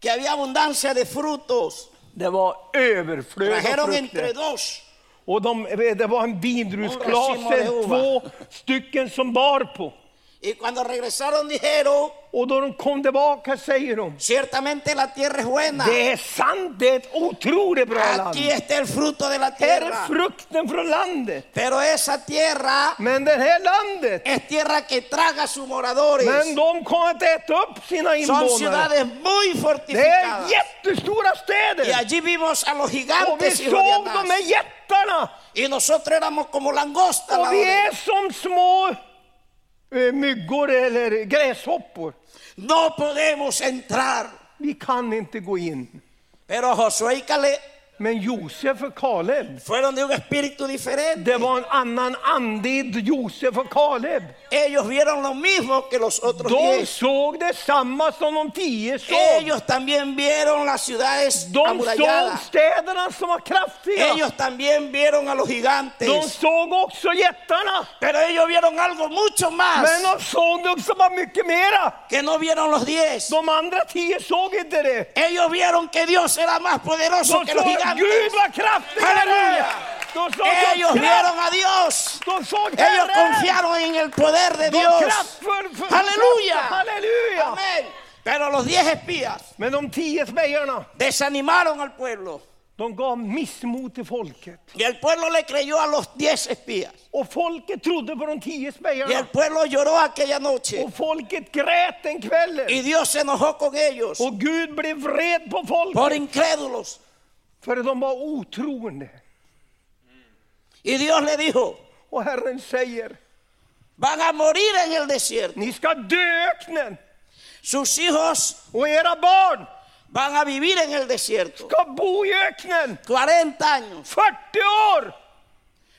S5: Que había abundancia de frutos.
S1: Det var överflöd av
S5: Trajeron entre
S1: frukter.
S5: dos.
S1: Och de, det var en
S5: Och de simmade
S1: vindrusklase,
S5: över.
S1: två stycken som bar på.
S5: Y cuando regresaron dijeron,
S1: Och då de kom tillbaka säger de,
S5: ciertamente la tierra es buena.
S1: det är sant, det är ett otroligt bra land.
S5: Aquí está el fruto de la
S1: Här är
S5: tierra.
S1: frukten från landet.
S5: Pero esa tierra
S1: Men det här landet,
S5: es tierra que traga a sus
S1: men
S5: moradores.
S1: de kommer att äta upp sina
S5: Son
S1: invånare.
S5: ciudades muy
S1: Det är
S5: fortificadas.
S1: jättestora
S5: Y
S1: städer.
S5: allí vimos a los
S1: Och vi
S5: gigantes hijo de
S1: såg de
S5: Anás.
S1: här jättarna.
S5: y nosotros éramos como langosta.
S1: Och
S5: al
S1: vi
S5: lado de
S1: är
S5: ellos.
S1: som små eh, myggor eller gräshoppor.
S5: No podemos entrar.
S1: Vi kan inte gå in.
S5: Pero Josué y Caleb
S1: Men Josef och Kaleb,
S5: fueron de un espíritu diferente.
S1: det var en annan ande i Josef och Kaleb.
S5: Ellos vieron lo mismo que los otros
S1: De
S5: diez.
S1: såg detsamma som de tio såg.
S5: Ellos también vieron las ciudades
S1: De såg
S5: amuralladas.
S1: städerna som var kraftiga.
S5: Ellos también vieron a los
S1: De
S5: gigantes.
S1: såg också jättarna.
S5: Pero ellos vieron algo mucho más
S1: Men de såg det som var mycket mera.
S5: que no vieron los diez.
S1: De andra tio såg inte det.
S5: Ellos vieron que Dios era más
S1: De
S5: poderoso
S1: såg
S5: que los
S1: Gud
S5: gigantes.
S1: var kraftig.
S5: Halleluja!
S1: De såg
S5: Ellos
S1: Guds kraft.
S5: vieron a Dios.
S1: De såg
S5: Ellos
S1: Herren.
S5: confiaron en el poder de
S1: De
S5: Dios.
S1: kraftfull för-
S5: Halleluja!
S1: Halleluja!
S5: Amén. Pero los diez espías
S1: Men de tio spejarna,
S5: desanimaron al pueblo.
S1: de gav missmod till folket.
S5: Y el pueblo le creyó a los diez espías.
S1: Och folket trodde på de tio
S5: Y
S1: spejarna.
S5: el pueblo lloró aquella noche.
S1: Och folket grät den kvällen.
S5: Y Dios se enojó con ellos
S1: Och Gud blev vred på
S5: por
S1: folket.
S5: incrédulos.
S1: För de var otroende.
S5: Y Dios le dijo,
S1: Och Herren säger,
S5: van a morir en el desierto.
S1: ni ska dö i öknen.
S5: Sus hijos
S1: Och era barn
S5: van a vivir en el desierto.
S1: ska bo i öknen.
S5: 40 años.
S1: 40 år!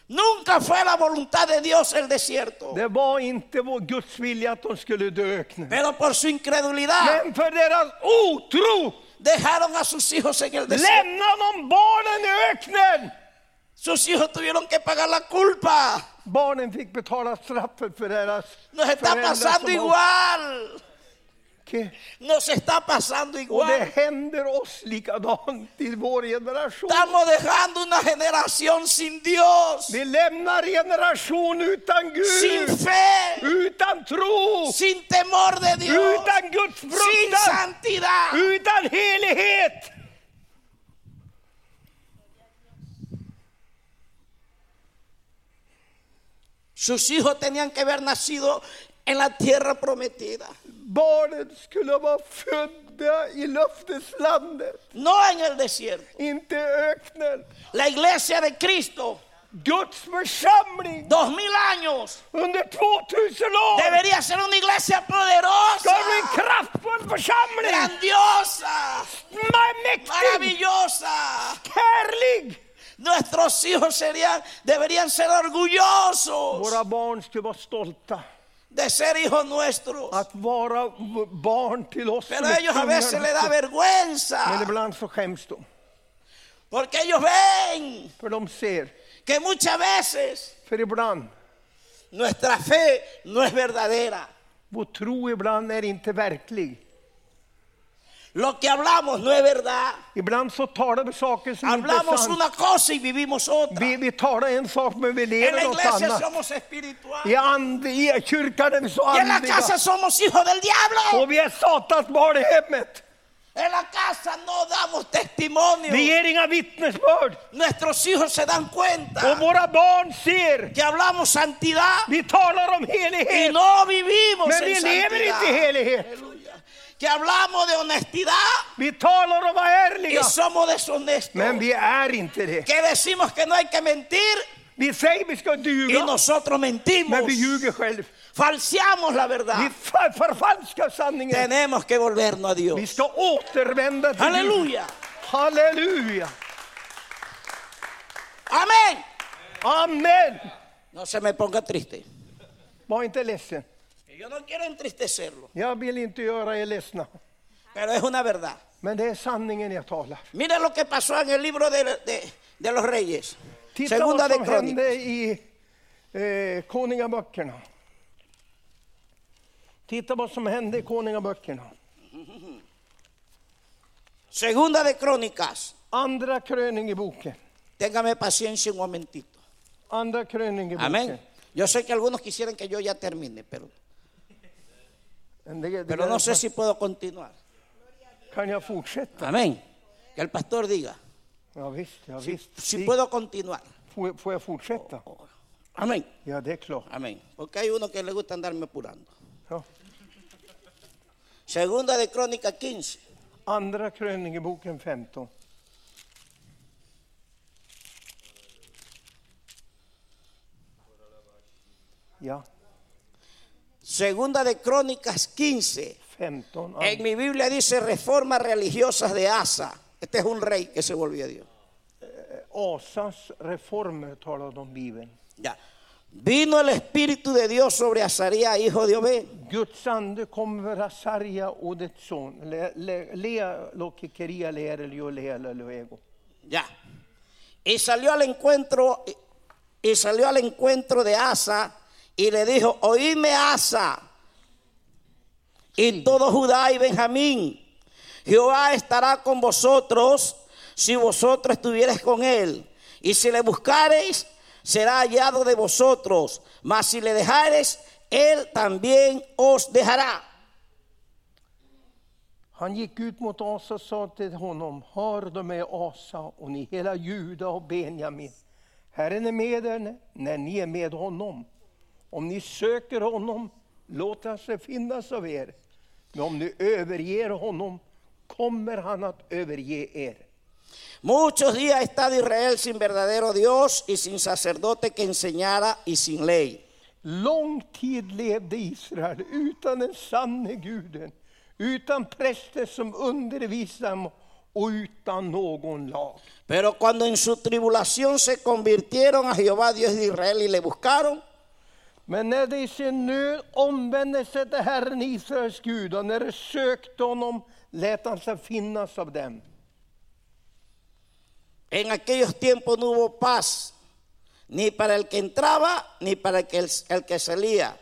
S5: Nunca fue la voluntad de Dios el desierto.
S1: Det var inte vår Guds vilja att de skulle dö i öknen.
S5: Pero por su incredulidad
S1: Men för deras otro
S5: dejaron a sus hijos en el desierto.
S1: lämnade de barnen i öknen.
S5: Sus hijos tuvieron que pagar la culpa.
S1: Barnen fick betala straffet för deras
S5: Nos está
S1: föräldrar som
S5: pasando
S1: har-
S5: igual. Nos está
S1: Och
S5: pasando
S1: det
S5: igual.
S1: händer oss likadant i vår generation.
S5: Estamos dejando una generación sin Dios,
S1: Vi lämnar generation utan
S5: sin
S1: Gud,
S5: fe,
S1: utan tro,
S5: sin temor de Dios,
S1: utan Guds
S5: sin
S1: fruktan,
S5: santidad.
S1: utan helighet.
S5: Sus hijos tenían que haber nacido en la tierra prometida,
S1: Barnen skulle vara födda i löfteslandet.
S5: no en el desierto.
S1: inte öknen.
S5: La iglesia de Cristo,
S1: Guds församling
S5: dos mil años,
S1: under 2000 år
S5: debería ser una iglesia
S1: ska bli en
S5: poderosa,
S1: kraftfull församling.
S5: grandiosa,
S1: Mäktig,
S5: maravillosa.
S1: härlig.
S5: Nuestros hijos serían, deberían ser orgullosos
S1: Våra barn ska vara stolta
S5: de ser hijos nuestros.
S1: att vara v- barn till oss. som
S5: Pero a
S1: är
S5: ellos a
S1: tvungna-
S5: veces les da
S1: Men
S5: vergüenza.
S1: ibland så skäms de,
S5: Porque ellos ven
S1: för de ser.
S5: que muchas veces
S1: För ibland,
S5: nuestra fe no es verdadera.
S1: vår tro ibland är inte verklig.
S5: Lo que hablamos no es verdad.
S1: Ibland så talar vi saker som inte är
S5: Hablamos
S1: sant.
S5: una cosa y vivimos otra.
S1: Vi, vi talar en sak men vi
S5: En
S1: lever
S5: la
S1: något
S5: iglesia
S1: annat.
S5: somos
S1: I,
S5: espirituales.
S1: and, I kyrkan är vi så
S5: Y en la
S1: andliga.
S5: casa somos hijos del diablo.
S1: Och vi är Satans barn i hemmet.
S5: En la casa no damos testimonio.
S1: Vi ger inga vittnesbörd.
S5: Nuestros hijos se dan
S1: Och
S5: cuenta
S1: våra barn ser.
S5: que hablamos santidad
S1: Vi talar om
S5: y
S1: helighet.
S5: no vivimos
S1: Men vi
S5: en
S1: lever inte i
S5: santidad.
S1: helighet.
S5: Aleluya. Que hablamos de honestidad.
S1: Vi talar om att vara
S5: y
S1: ärliga.
S5: somos deshonestos.
S1: Men vi är inte det.
S5: Que decimos que no hay que mentir
S1: Vi säger vi ska
S5: y
S1: ljuga.
S5: nosotros mentimos.
S1: Men vi ljuger själv.
S5: Falseamos la verdad.
S1: Vi fa- förfalskar sanningen.
S5: Tenemos que volvernos a Dios.
S1: Vi ska återvända till Gud.
S5: Aleluya.
S1: Halleluja.
S5: Amén.
S1: Amen.
S5: No se me ponga triste.
S1: Var inte ledsen.
S5: Yo no quiero entristecerlo,
S1: Jag vill inte göra er ledsna.
S5: pero es una verdad.
S1: Men det är sanningen jag talar.
S5: Mira lo que pasó en el libro de, de- de los reyes.
S1: Titta
S5: Segunda
S1: vad
S5: de
S1: som
S5: Crónicas.
S1: hände i eh, Konungaböckerna. Titta vad som hände i Konungaböckerna.
S5: Segunda de Crónicas.
S1: Andra kröningeboken.
S5: Téngame paciencia un momentito.
S1: Andra kröningeboken.
S5: Amén. Yo sé que algunos quisieran que yo ya termine, pero
S1: En det- det
S5: Pero
S1: där
S5: no
S1: är
S5: sé
S1: fast-
S5: si puedo continuar.
S1: Kan jag fortsätta?
S5: Amén. Que el pastor diga,
S1: Ja, visst, ja,
S5: si,
S1: visst.
S5: si
S1: Vi-
S5: puedo continuar.
S1: Får, får jag fortsätta?
S5: Amén.
S1: Ja, det är klart.
S5: Amén. Porque hay uno que le gusta andarme apurando.
S1: Ja.
S5: Segunda de Crónica 15.
S1: Andra krönikeboken 15. Ja,
S5: Segunda de Crónicas 15.
S1: 15.
S5: En mi Biblia dice reformas religiosas de Asa. Este es un rey que se volvió a Dios.
S1: Asas reformer talade om Bibeln.
S5: Ya. Vino el Espíritu de Dios sobre Azaría, hijo de Obed.
S1: Guds ande kom över Asarja och dess son. Le- le- Lea lokikeria leerelio leelelego.
S5: Ya. Y salió al encuentro y salió al encuentro de Asa y le dijo, "Oíme Asa y todo Judá y Benjamín. Jehová estará con vosotros si vosotros estuviereis con él, y si le buscareis será hallado de vosotros, mas si le dejareis él también os dejará."
S1: Han gick ut mot Asa och sa till honom, hör då med Asa och ni hela Juda och Benjamin. Herren är med er när ni är med honom. Om ni söker honom, låt han sig finnas av er. Men om ni överger honom, kommer han att överge er.
S5: Muchos días ha estado Israel sin verdadero Dios y sin sacerdote que enseñara y sin ley.
S1: Lång tid levde Israel utan den sanne guden, utan präster som undervisade dem och utan någon lag.
S5: Pero cuando en su tribulación se convirtieron a Jehová Dios de Israel y le buscaron,
S1: Men när de i sin nöd omvände sig till Herren Israels Gud och när de sökte honom lät han sig finnas av dem.
S5: en aquellos tiempos no hubo paz, ni para el que entraba, ni para el que, el que salía,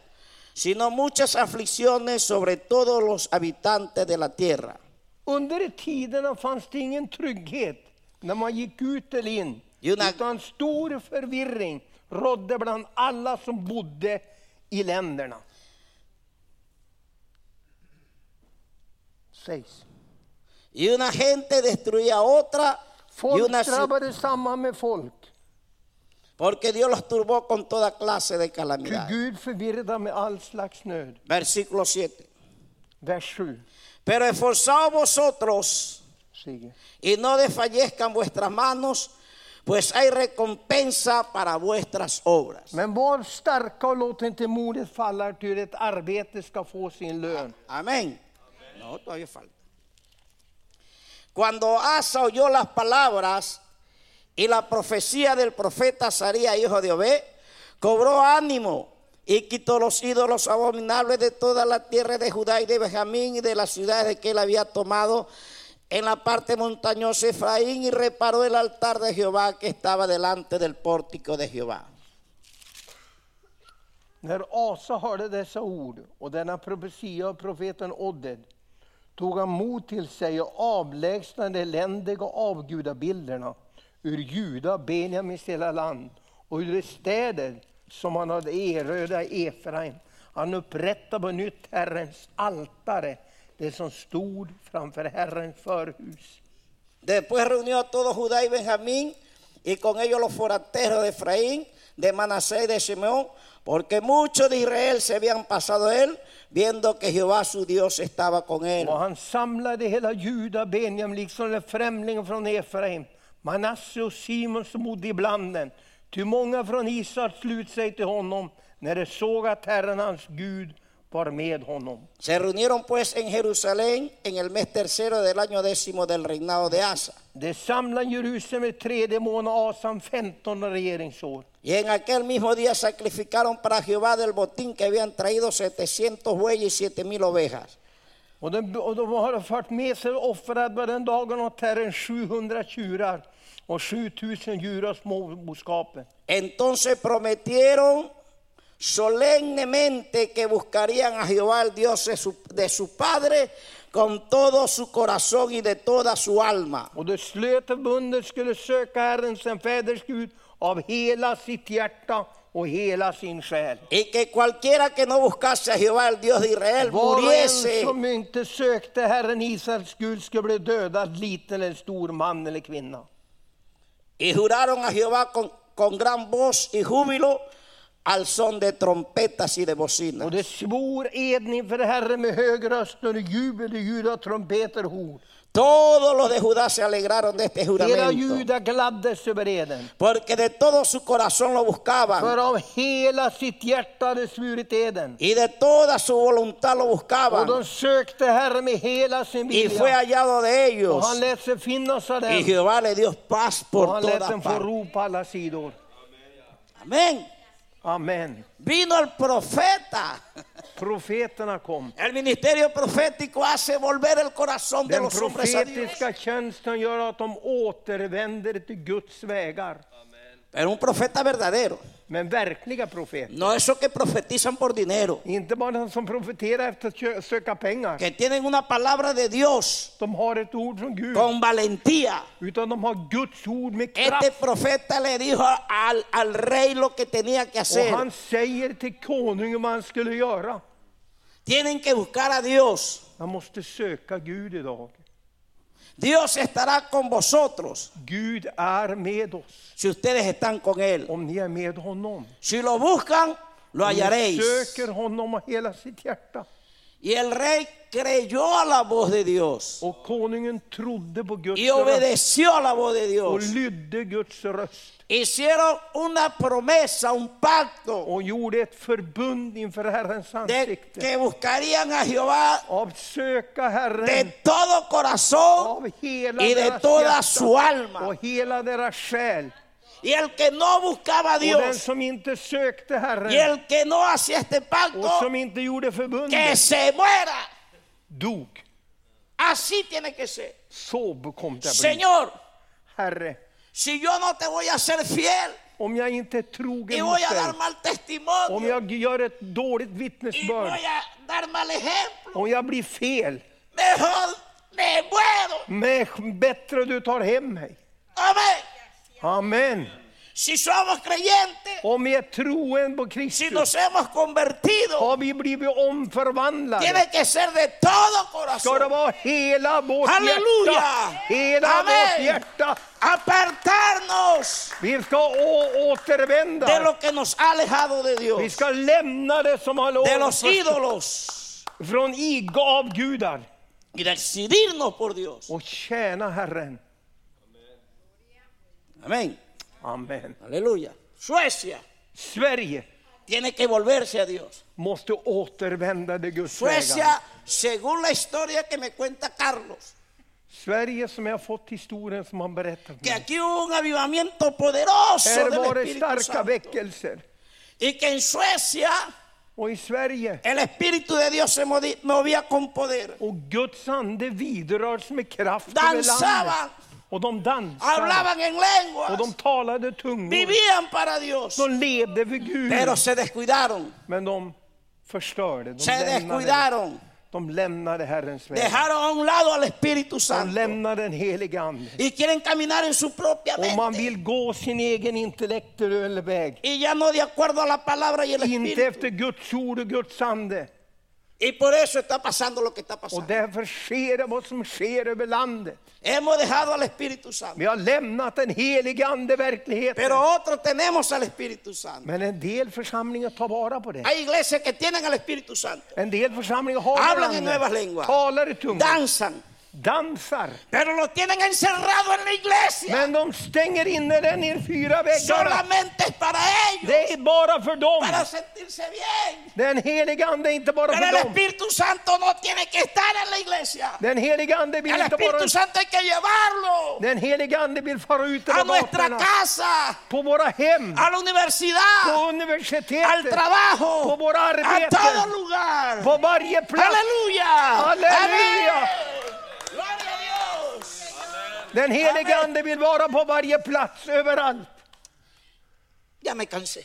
S5: sino muchas aflicciones sobre todos los habitantes de la tierra.
S1: Under de tiderna fanns det ingen trygghet när man gick ut eller in,
S5: Juna-
S1: utan stor förvirring rådde bland alla som bodde i länderna. Sägs.
S5: Y una gente destruía a otra, y
S1: Folk
S5: una ci-
S1: drabbades samman med folk,
S5: porque Dios los turbó con toda clase de
S1: ty
S5: calamidad.
S1: Gud förvirrade med all slags nöd.
S5: Versículo 7.
S1: Vers 7,
S5: Pero esforzaos vosotros
S1: Sigge.
S5: y no desfallezcan vuestras manos, pues hay recompensa para vuestras obras.
S1: Men var starka och låt inte modet falla, ty ur ett arbete ska få sin lön.
S5: Amén. No, todavía falta. Cuando Asa oyó las palabras y la profecía del profeta Saría, hijo de Obed, cobró ánimo y quitó los ídolos abominables de toda la tierra de Judá y de Benjamín y de las ciudades que él había tomado en la parte montañosa de Efraín y reparó el altar de Jehová que estaba delante del pórtico de Jehová.
S1: När Asa hörde dessa ord och denna profetia av profeten Oded tog han mod till sig och avlägsnade de eländiga avgudabilderna ur Juda, Benjamins hela land och ur de städer som han hade erövrat i Efraim. Han upprättade på nytt Herrens altare, det som stod framför Herrens förhus.
S5: Después reunió a todo Judá y Benjamín, y con ellos los forasteros de Efraín, de Manasés y de Simeón, porque muchos de Israel se habían pasado a él, viendo que Jehová su Dios estaba con él.
S1: Och han samlade hela Juda, Benjamim, liksom den främlingen från Efraim, Manasse och Simon som bodde ibland den. Ty många från Israel slut sig till honom när de såg att Herren hans Gud var med honom.
S5: Se reunieron pues en Jerusalén en el mes tercero del año décimo del reinado de Asa.
S1: De samlade Jerusalem i tredje månad, Asan 15 regeringsår.
S5: Y en aquel mismo día sacrificaron para Jehová del botín que habían traído 700 bueyes y siete mil ovejas.
S1: Och de, och de har fört med sig och offrat på den dagen åt Herren 700 tjurar och 7000 djur av småboskapen.
S5: Entonces prometieron solemnemente que buscarían a Jehová, el Dios de su, de su padre, con todo su corazón y de toda su alma.
S1: Och det slöt förbundet skulle söka Herren sin fäders Gud av hela sitt hjärta och hela sin själ.
S5: Y que cualquiera que no buscase a Jehová, el Dios de Israel,
S1: Var och en
S5: muriese.
S1: som inte sökte Herren Israels Gud skulle bli dödad, liten eller stor, man eller kvinna.
S5: Y juraron a Jehová con, con gran voz y júbilo al son de trompetas y de
S1: Och
S5: bocinas.
S1: det svor eden inför Herren med hög röst under jubel, ljud av trumpeter, horn.
S5: Todos los de Judá se alegraron de este
S1: Hela
S5: juramento.
S1: Juda gladdes över eden.
S5: Porque de todo su corazón lo
S1: För
S5: buscaban.
S1: av hela sitt hjärta hade svurit eden.
S5: Y de toda su voluntad lo
S1: Och
S5: buscaban.
S1: de sökte Herren med hela sin
S5: Y fue
S1: vilja.
S5: hallado de
S1: Och han
S5: ellos.
S1: lät sig finnas av
S5: Y
S1: dem.
S5: Jehová le dio paz
S1: Och
S5: por
S1: han lät dem få
S5: todas partes.
S1: ro på alla sidor.
S5: Amén.
S1: Amen.
S5: Vino el profeta.
S1: Profeterna kom.
S5: El ministerio profético hace volver el corazón de
S1: Den
S5: los hombres a Dios.
S1: profetiska tjänsten gör att de återvänder till Guds vägar.
S5: Pero un profeta verdadero.
S1: Men verkliga profeter.
S5: No esos que profetizan por dinero.
S1: Inte bara de som profeterar efter att kö- söka pengar.
S5: Que tienen una palabra de Dios
S1: De har ett ord från Gud.
S5: con valentía.
S1: Utan de har Guds ord med
S5: Este
S1: kraft.
S5: profeta le dijo al, al rey lo que tenía que
S1: Och han
S5: hacer.
S1: säger till konungen vad han skulle göra.
S5: Tienen que buscar a Dios.
S1: Man måste söka Gud idag.
S5: Dios estará con vosotros
S1: Gud är med oss.
S5: si ustedes están con Él.
S1: Om ni är med honom.
S5: Si lo buscan, lo
S1: Om ni
S5: hallaréis.
S1: söker honom av hela sitt hjärta.
S5: Y el rey creyó a la voz de Dios
S1: Och konungen trodde på Guds
S5: y
S1: röst.
S5: obedeció a la voz de
S1: Och
S5: Dios.
S1: lydde Guds röst.
S5: Hicieron una promesa, un pacto
S1: och gjorde ett förbund inför Herrens
S5: de
S1: ansikte.
S5: que buscarían a Jehová
S1: Av söka
S5: de
S1: Herren
S5: todo corazón
S1: av hela
S5: y de
S1: deras
S5: toda
S1: hjärta
S5: su alma.
S1: och hela deras själ.
S5: Y el que no buscaba a
S1: Och den
S5: Dios
S1: som inte sökte Herren
S5: y el que no hacía este
S1: och
S5: pacto,
S1: som inte gjorde
S5: que
S1: förbundet
S5: se muera.
S1: dog.
S5: Así tiene que ser.
S1: Så kom det att bli.
S5: Señor,
S1: Herre,
S5: si yo no te voy a ser fiel
S1: om jag inte är
S5: y
S1: trogen mot
S5: voy a
S1: dig,
S5: dar mal
S1: om
S5: testimonio
S1: jag gör ett dåligt
S5: y
S1: vittnesbörd,
S5: voy a dar mal ejemplo,
S1: om jag blir fel,
S5: mejor me muero.
S1: men bättre du tar hem mig.
S5: Amén.
S1: Amen.
S5: Si somos creyentes,
S1: Om vi är troen på
S5: si
S1: Kristus,
S5: nos hemos convertido,
S1: har vi blivit omförvandlade.
S5: tiene que ser de todo
S1: Ska det
S5: corazón.
S1: vara hela vårt
S5: Halleluja!
S1: hjärta? Hela
S5: Amen!
S1: vårt hjärta.
S5: Apartarnos
S1: Vi ska å- återvända.
S5: de lo que nos ha alejado de
S1: Vi
S5: Dios,
S1: ska lämna det som har
S5: de
S1: lovat
S5: los
S1: från-
S5: ídolos
S1: från ig- avgudar
S5: y decidirnos por Dios.
S1: och tjäna Herren.
S5: Amén.
S1: Amen.
S5: Aleluya. Suecia
S1: Sverige
S5: tiene que volverse a Dios.
S1: måste återvända till Guds vägar.
S5: Suecia, según la historia que me cuenta Carlos,
S1: Sverige som jag har fått historien som han berättat för
S5: que
S1: mig.
S5: aquí hubo un avivamiento poderoso
S1: Här
S5: del
S1: var det
S5: Espíritu
S1: starka
S5: Santo.
S1: väckelser.
S5: y que en Suecia
S1: Och i Sverige,
S5: el Espíritu de Dios se movi- movía con poder.
S1: och Guds ande vidrörs med kraft över
S5: Dansaban,
S1: landet. Och de dansade.
S5: hablaban en
S1: Och de
S5: lenguas,
S1: talade tungor.
S5: vivían para Dios,
S1: De levde för Gud.
S5: pero se descuidaron,
S1: Men de förstörde. De
S5: se
S1: lämnade,
S5: descuidaron,
S1: de lämnade Herrens väg.
S5: dejaron a un lado al Espíritu
S1: De
S5: Santo
S1: lämnade den helige Ande.
S5: y quieren caminar en su propia
S1: Och man
S5: mente
S1: vill gå sin egen intellektuella väg.
S5: y ya no de acuerdo a la palabra y el
S1: Inte
S5: Espíritu.
S1: efter Guds ord och Guds ande.
S5: Y por eso está pasando lo que está
S1: Och
S5: pasando.
S1: därför sker det vad som sker över landet.
S5: Hemos dejado al Espíritu Santo,
S1: Vi har lämnat den helige Ande verkligheten.
S5: pero otros tenemos al Espíritu Santo.
S1: Men en del församlingar tar vara på det.
S5: Hay iglesias que tienen al Espíritu Santo,
S1: En del församlingar har
S5: Hablan
S1: den anden.
S5: en nuevas lenguas.
S1: Talar i tungor.
S5: danzan.
S1: Dansar.
S5: Pero lo tienen encerrado en la iglesia.
S1: Men de stänger inne den i fyra väggar.
S5: Solamente es para ellos.
S1: Det är bara för dem.
S5: Para sentirse bien.
S1: Den heliga ande är inte bara
S5: Pero el
S1: för dem.
S5: Espíritu Santo no tiene que estar en la iglesia.
S1: Den heliga ande vill
S5: El
S1: inte bara...
S5: Espíritu Santo hay que llevarlo
S1: Den heliga ande vill fara ut
S5: a
S1: över
S5: nuestra
S1: gatorna.
S5: casa,
S1: På våra hem,
S5: a la universidad,
S1: på
S5: al
S1: universitetet,
S5: trabajo,
S1: På våra
S5: a todo
S1: arbeten.
S5: lugar.
S1: på varje plats.
S5: Aleluya.
S1: Aleluya.
S5: Amén. Gloria a Dios.
S1: Den heliga
S5: Amen.
S1: ande vill vara på varje plats, överallt.
S5: Ya me cansé.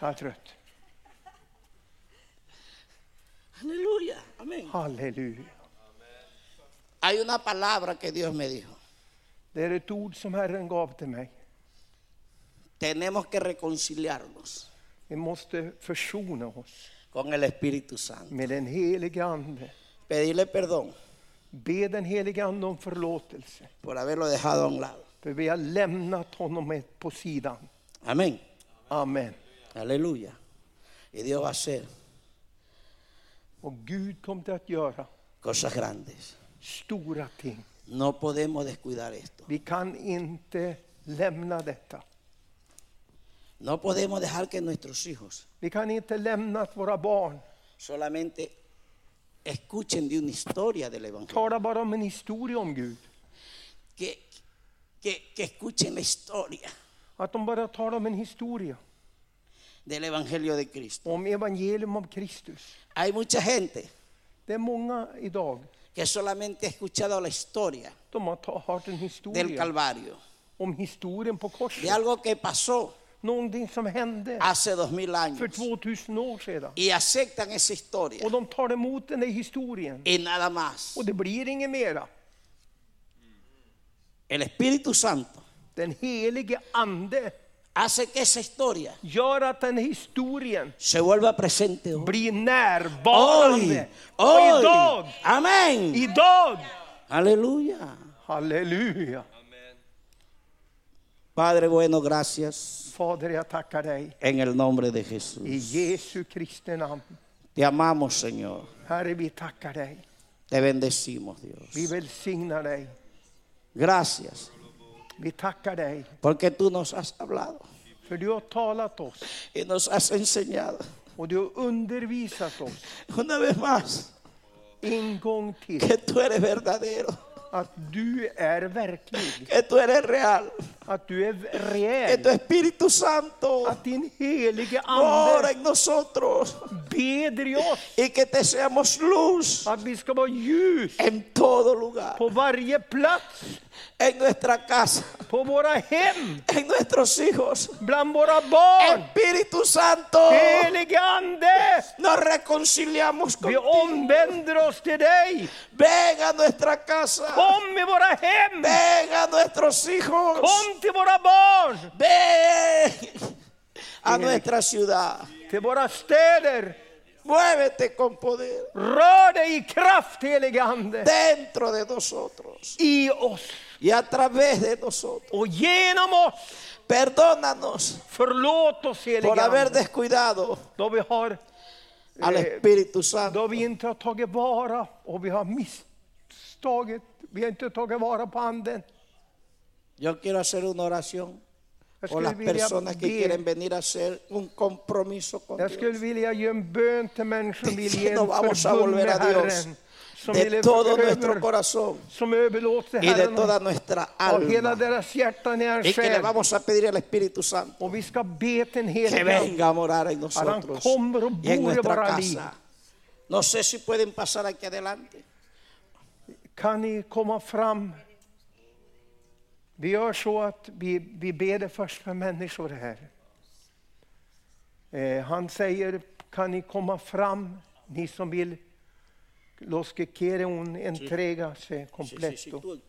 S1: Jag är trött.
S5: Aleluya. Amén.
S1: Halleluja.
S5: Hay una palabra que Dios me dijo.
S1: Det är ett ord som Herren gav till mig.
S5: tenemos que reconciliarnos
S1: Vi måste försona oss
S5: con el Espíritu Santo.
S1: med den helige Ande.
S5: Pedirle perdón
S1: Be den helige Ande om förlåtelse.
S5: por haberlo dejado a un lado.
S1: För vi har lämnat honom med- på sidan.
S5: Amén.
S1: Amen.
S5: Aleluya. Y Dios va a hacer
S1: Och Gud kommer att göra
S5: cosas grandes.
S1: stora ting.
S5: No podemos descuidar esto.
S1: Vi kan inte lämna detta.
S5: No podemos dejar que nuestros hijos
S1: Vi kan inte lämna att våra barn
S5: solamente escuchen de una historia del Evangelio.
S1: talar bara om en historia om Gud.
S5: Que, que, que escuchen la historia
S1: Att de bara talar om en historia,
S5: del Evangelio de Cristo.
S1: om evangelium om Kristus.
S5: Hay mucha gente
S1: Det är många idag,
S5: que solamente ha escuchado la historia
S1: de har ta- hört en
S5: del
S1: historia
S5: Calvario,
S1: om historien på
S5: de
S1: korset.
S5: algo que pasó
S1: Någonting som hände
S5: hace dos mil
S1: för
S5: años
S1: 2000 år sedan.
S5: y aceptan esa historia
S1: Och de tar emot den där historien.
S5: y nada más.
S1: Och det blir inget mera.
S5: El Espíritu Santo
S1: Den helige ande
S5: hace que esa historia
S1: gör att den historien
S5: se vuelva presente hoy.
S1: blir
S5: Hoy,
S1: närvarande. Och
S5: hoy.
S1: idag,
S5: Amén.
S1: idag!
S5: Aleluya.
S1: Halleluja!
S5: Padre bueno, gracias
S1: Fader, jag tackar dig
S5: en el nombre de Jesús.
S1: i Jesu Kristi namn.
S5: Te amamos, Señor.
S1: Herre, vi tackar dig.
S5: Te bendecimos, Dios.
S1: Vi välsignar dig.
S5: Gracias
S1: Vi tackar dig
S5: porque tú nos has hablado
S1: för du har talat oss
S5: y nos has enseñado.
S1: och du har undervisat oss
S5: Una vez más,
S1: en gång till
S5: que tú eres verdadero,
S1: att du är verklig,
S5: que tú eres real,
S1: att du är
S5: que tu
S1: reell,
S5: Espíritu Santo
S1: att din helige
S5: mora
S1: ande
S5: en nosotros
S1: beder i oss
S5: y que te seamos luz
S1: Att vi ska vara ljus
S5: en todo lugar,
S1: på varje plats,
S5: en nuestra casa,
S1: på våra hem,
S5: en nuestros hijos.
S1: bland våra barn.
S5: Espíritu Santo,
S1: Helige Ande,
S5: nos reconciliamos
S1: vi
S5: contigo.
S1: omvänder oss till dig.
S5: Ven a nuestra casa,
S1: Kom i våra hem,
S5: ven a nuestros hijos,
S1: kom till våra barn,
S5: ven a nuestra ciudad.
S1: till våra städer.
S5: Muévete con poder
S1: Rör dig i kraft, helige Ande,
S5: dentro de nosotros
S1: i oss
S5: y a través de nosotros.
S1: och genom oss.
S5: Perdónanos
S1: Förlåt oss,
S5: por
S1: helige
S5: haber
S1: Ande,
S5: descuidado
S1: då vi, har,
S5: al Espíritu Santo.
S1: då vi inte har tagit vara och vi har misstagit, vi har inte tagit vara på Anden.
S5: Yo quiero hacer una oración
S1: Jag
S5: por
S1: skulle,
S5: las
S1: vilja
S5: personas que
S1: be,
S5: quieren venir a hacer un compromiso con
S1: jag skulle
S5: Dios.
S1: vilja ge en bön till människor som vill ge en
S5: Diciendo, vamos a
S1: förbund
S5: volver
S1: med
S5: a Dios
S1: Herren. Som,
S5: de
S1: vill
S5: todo nuestro
S1: över,
S5: corazón
S1: som överlåter
S5: y de
S1: Herren
S5: toda nuestra
S1: av hela
S5: alma.
S1: deras hjärtan i
S5: Y
S1: hans
S5: que le
S1: själ.
S5: vamos a pedir al Espíritu Santo
S1: Och vi ska be till en
S5: que
S1: helig Ande.
S5: venga a morar en
S1: Ahora,
S5: nosotros
S1: ¿cómo
S5: y
S1: ocurre
S5: en nuestra
S1: para ti?
S5: casa. No sé si pueden pasar aquí adelante.
S1: Kan ni komma fram? Vi gör så att vi, vi ber det först för människor här. Eh, han säger, kan ni komma fram, ni som vill? Los que quieren un entregarse completo.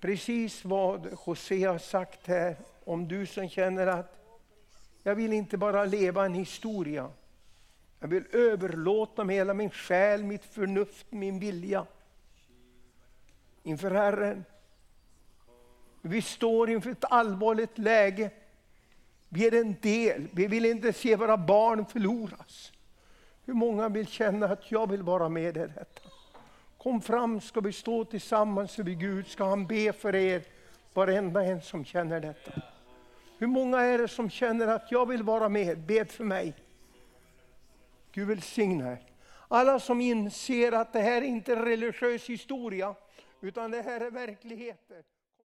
S1: precis vad José har sagt här, om du som känner att jag vill inte bara leva en historia. Jag vill överlåta med hela min själ, mitt förnuft, min vilja inför Herren. Vi står inför ett allvarligt läge. Vi är en del. Vi vill inte se våra barn förloras. Hur många vill känna att jag vill vara med i detta? Kom fram ska vi stå tillsammans över Gud, ska han be för er, varenda en som känner detta. Hur många är det som känner att jag vill vara med, bed för mig. Gud välsigna er. Alla som inser att det här är inte är religiös historia, utan det här är verkligheter.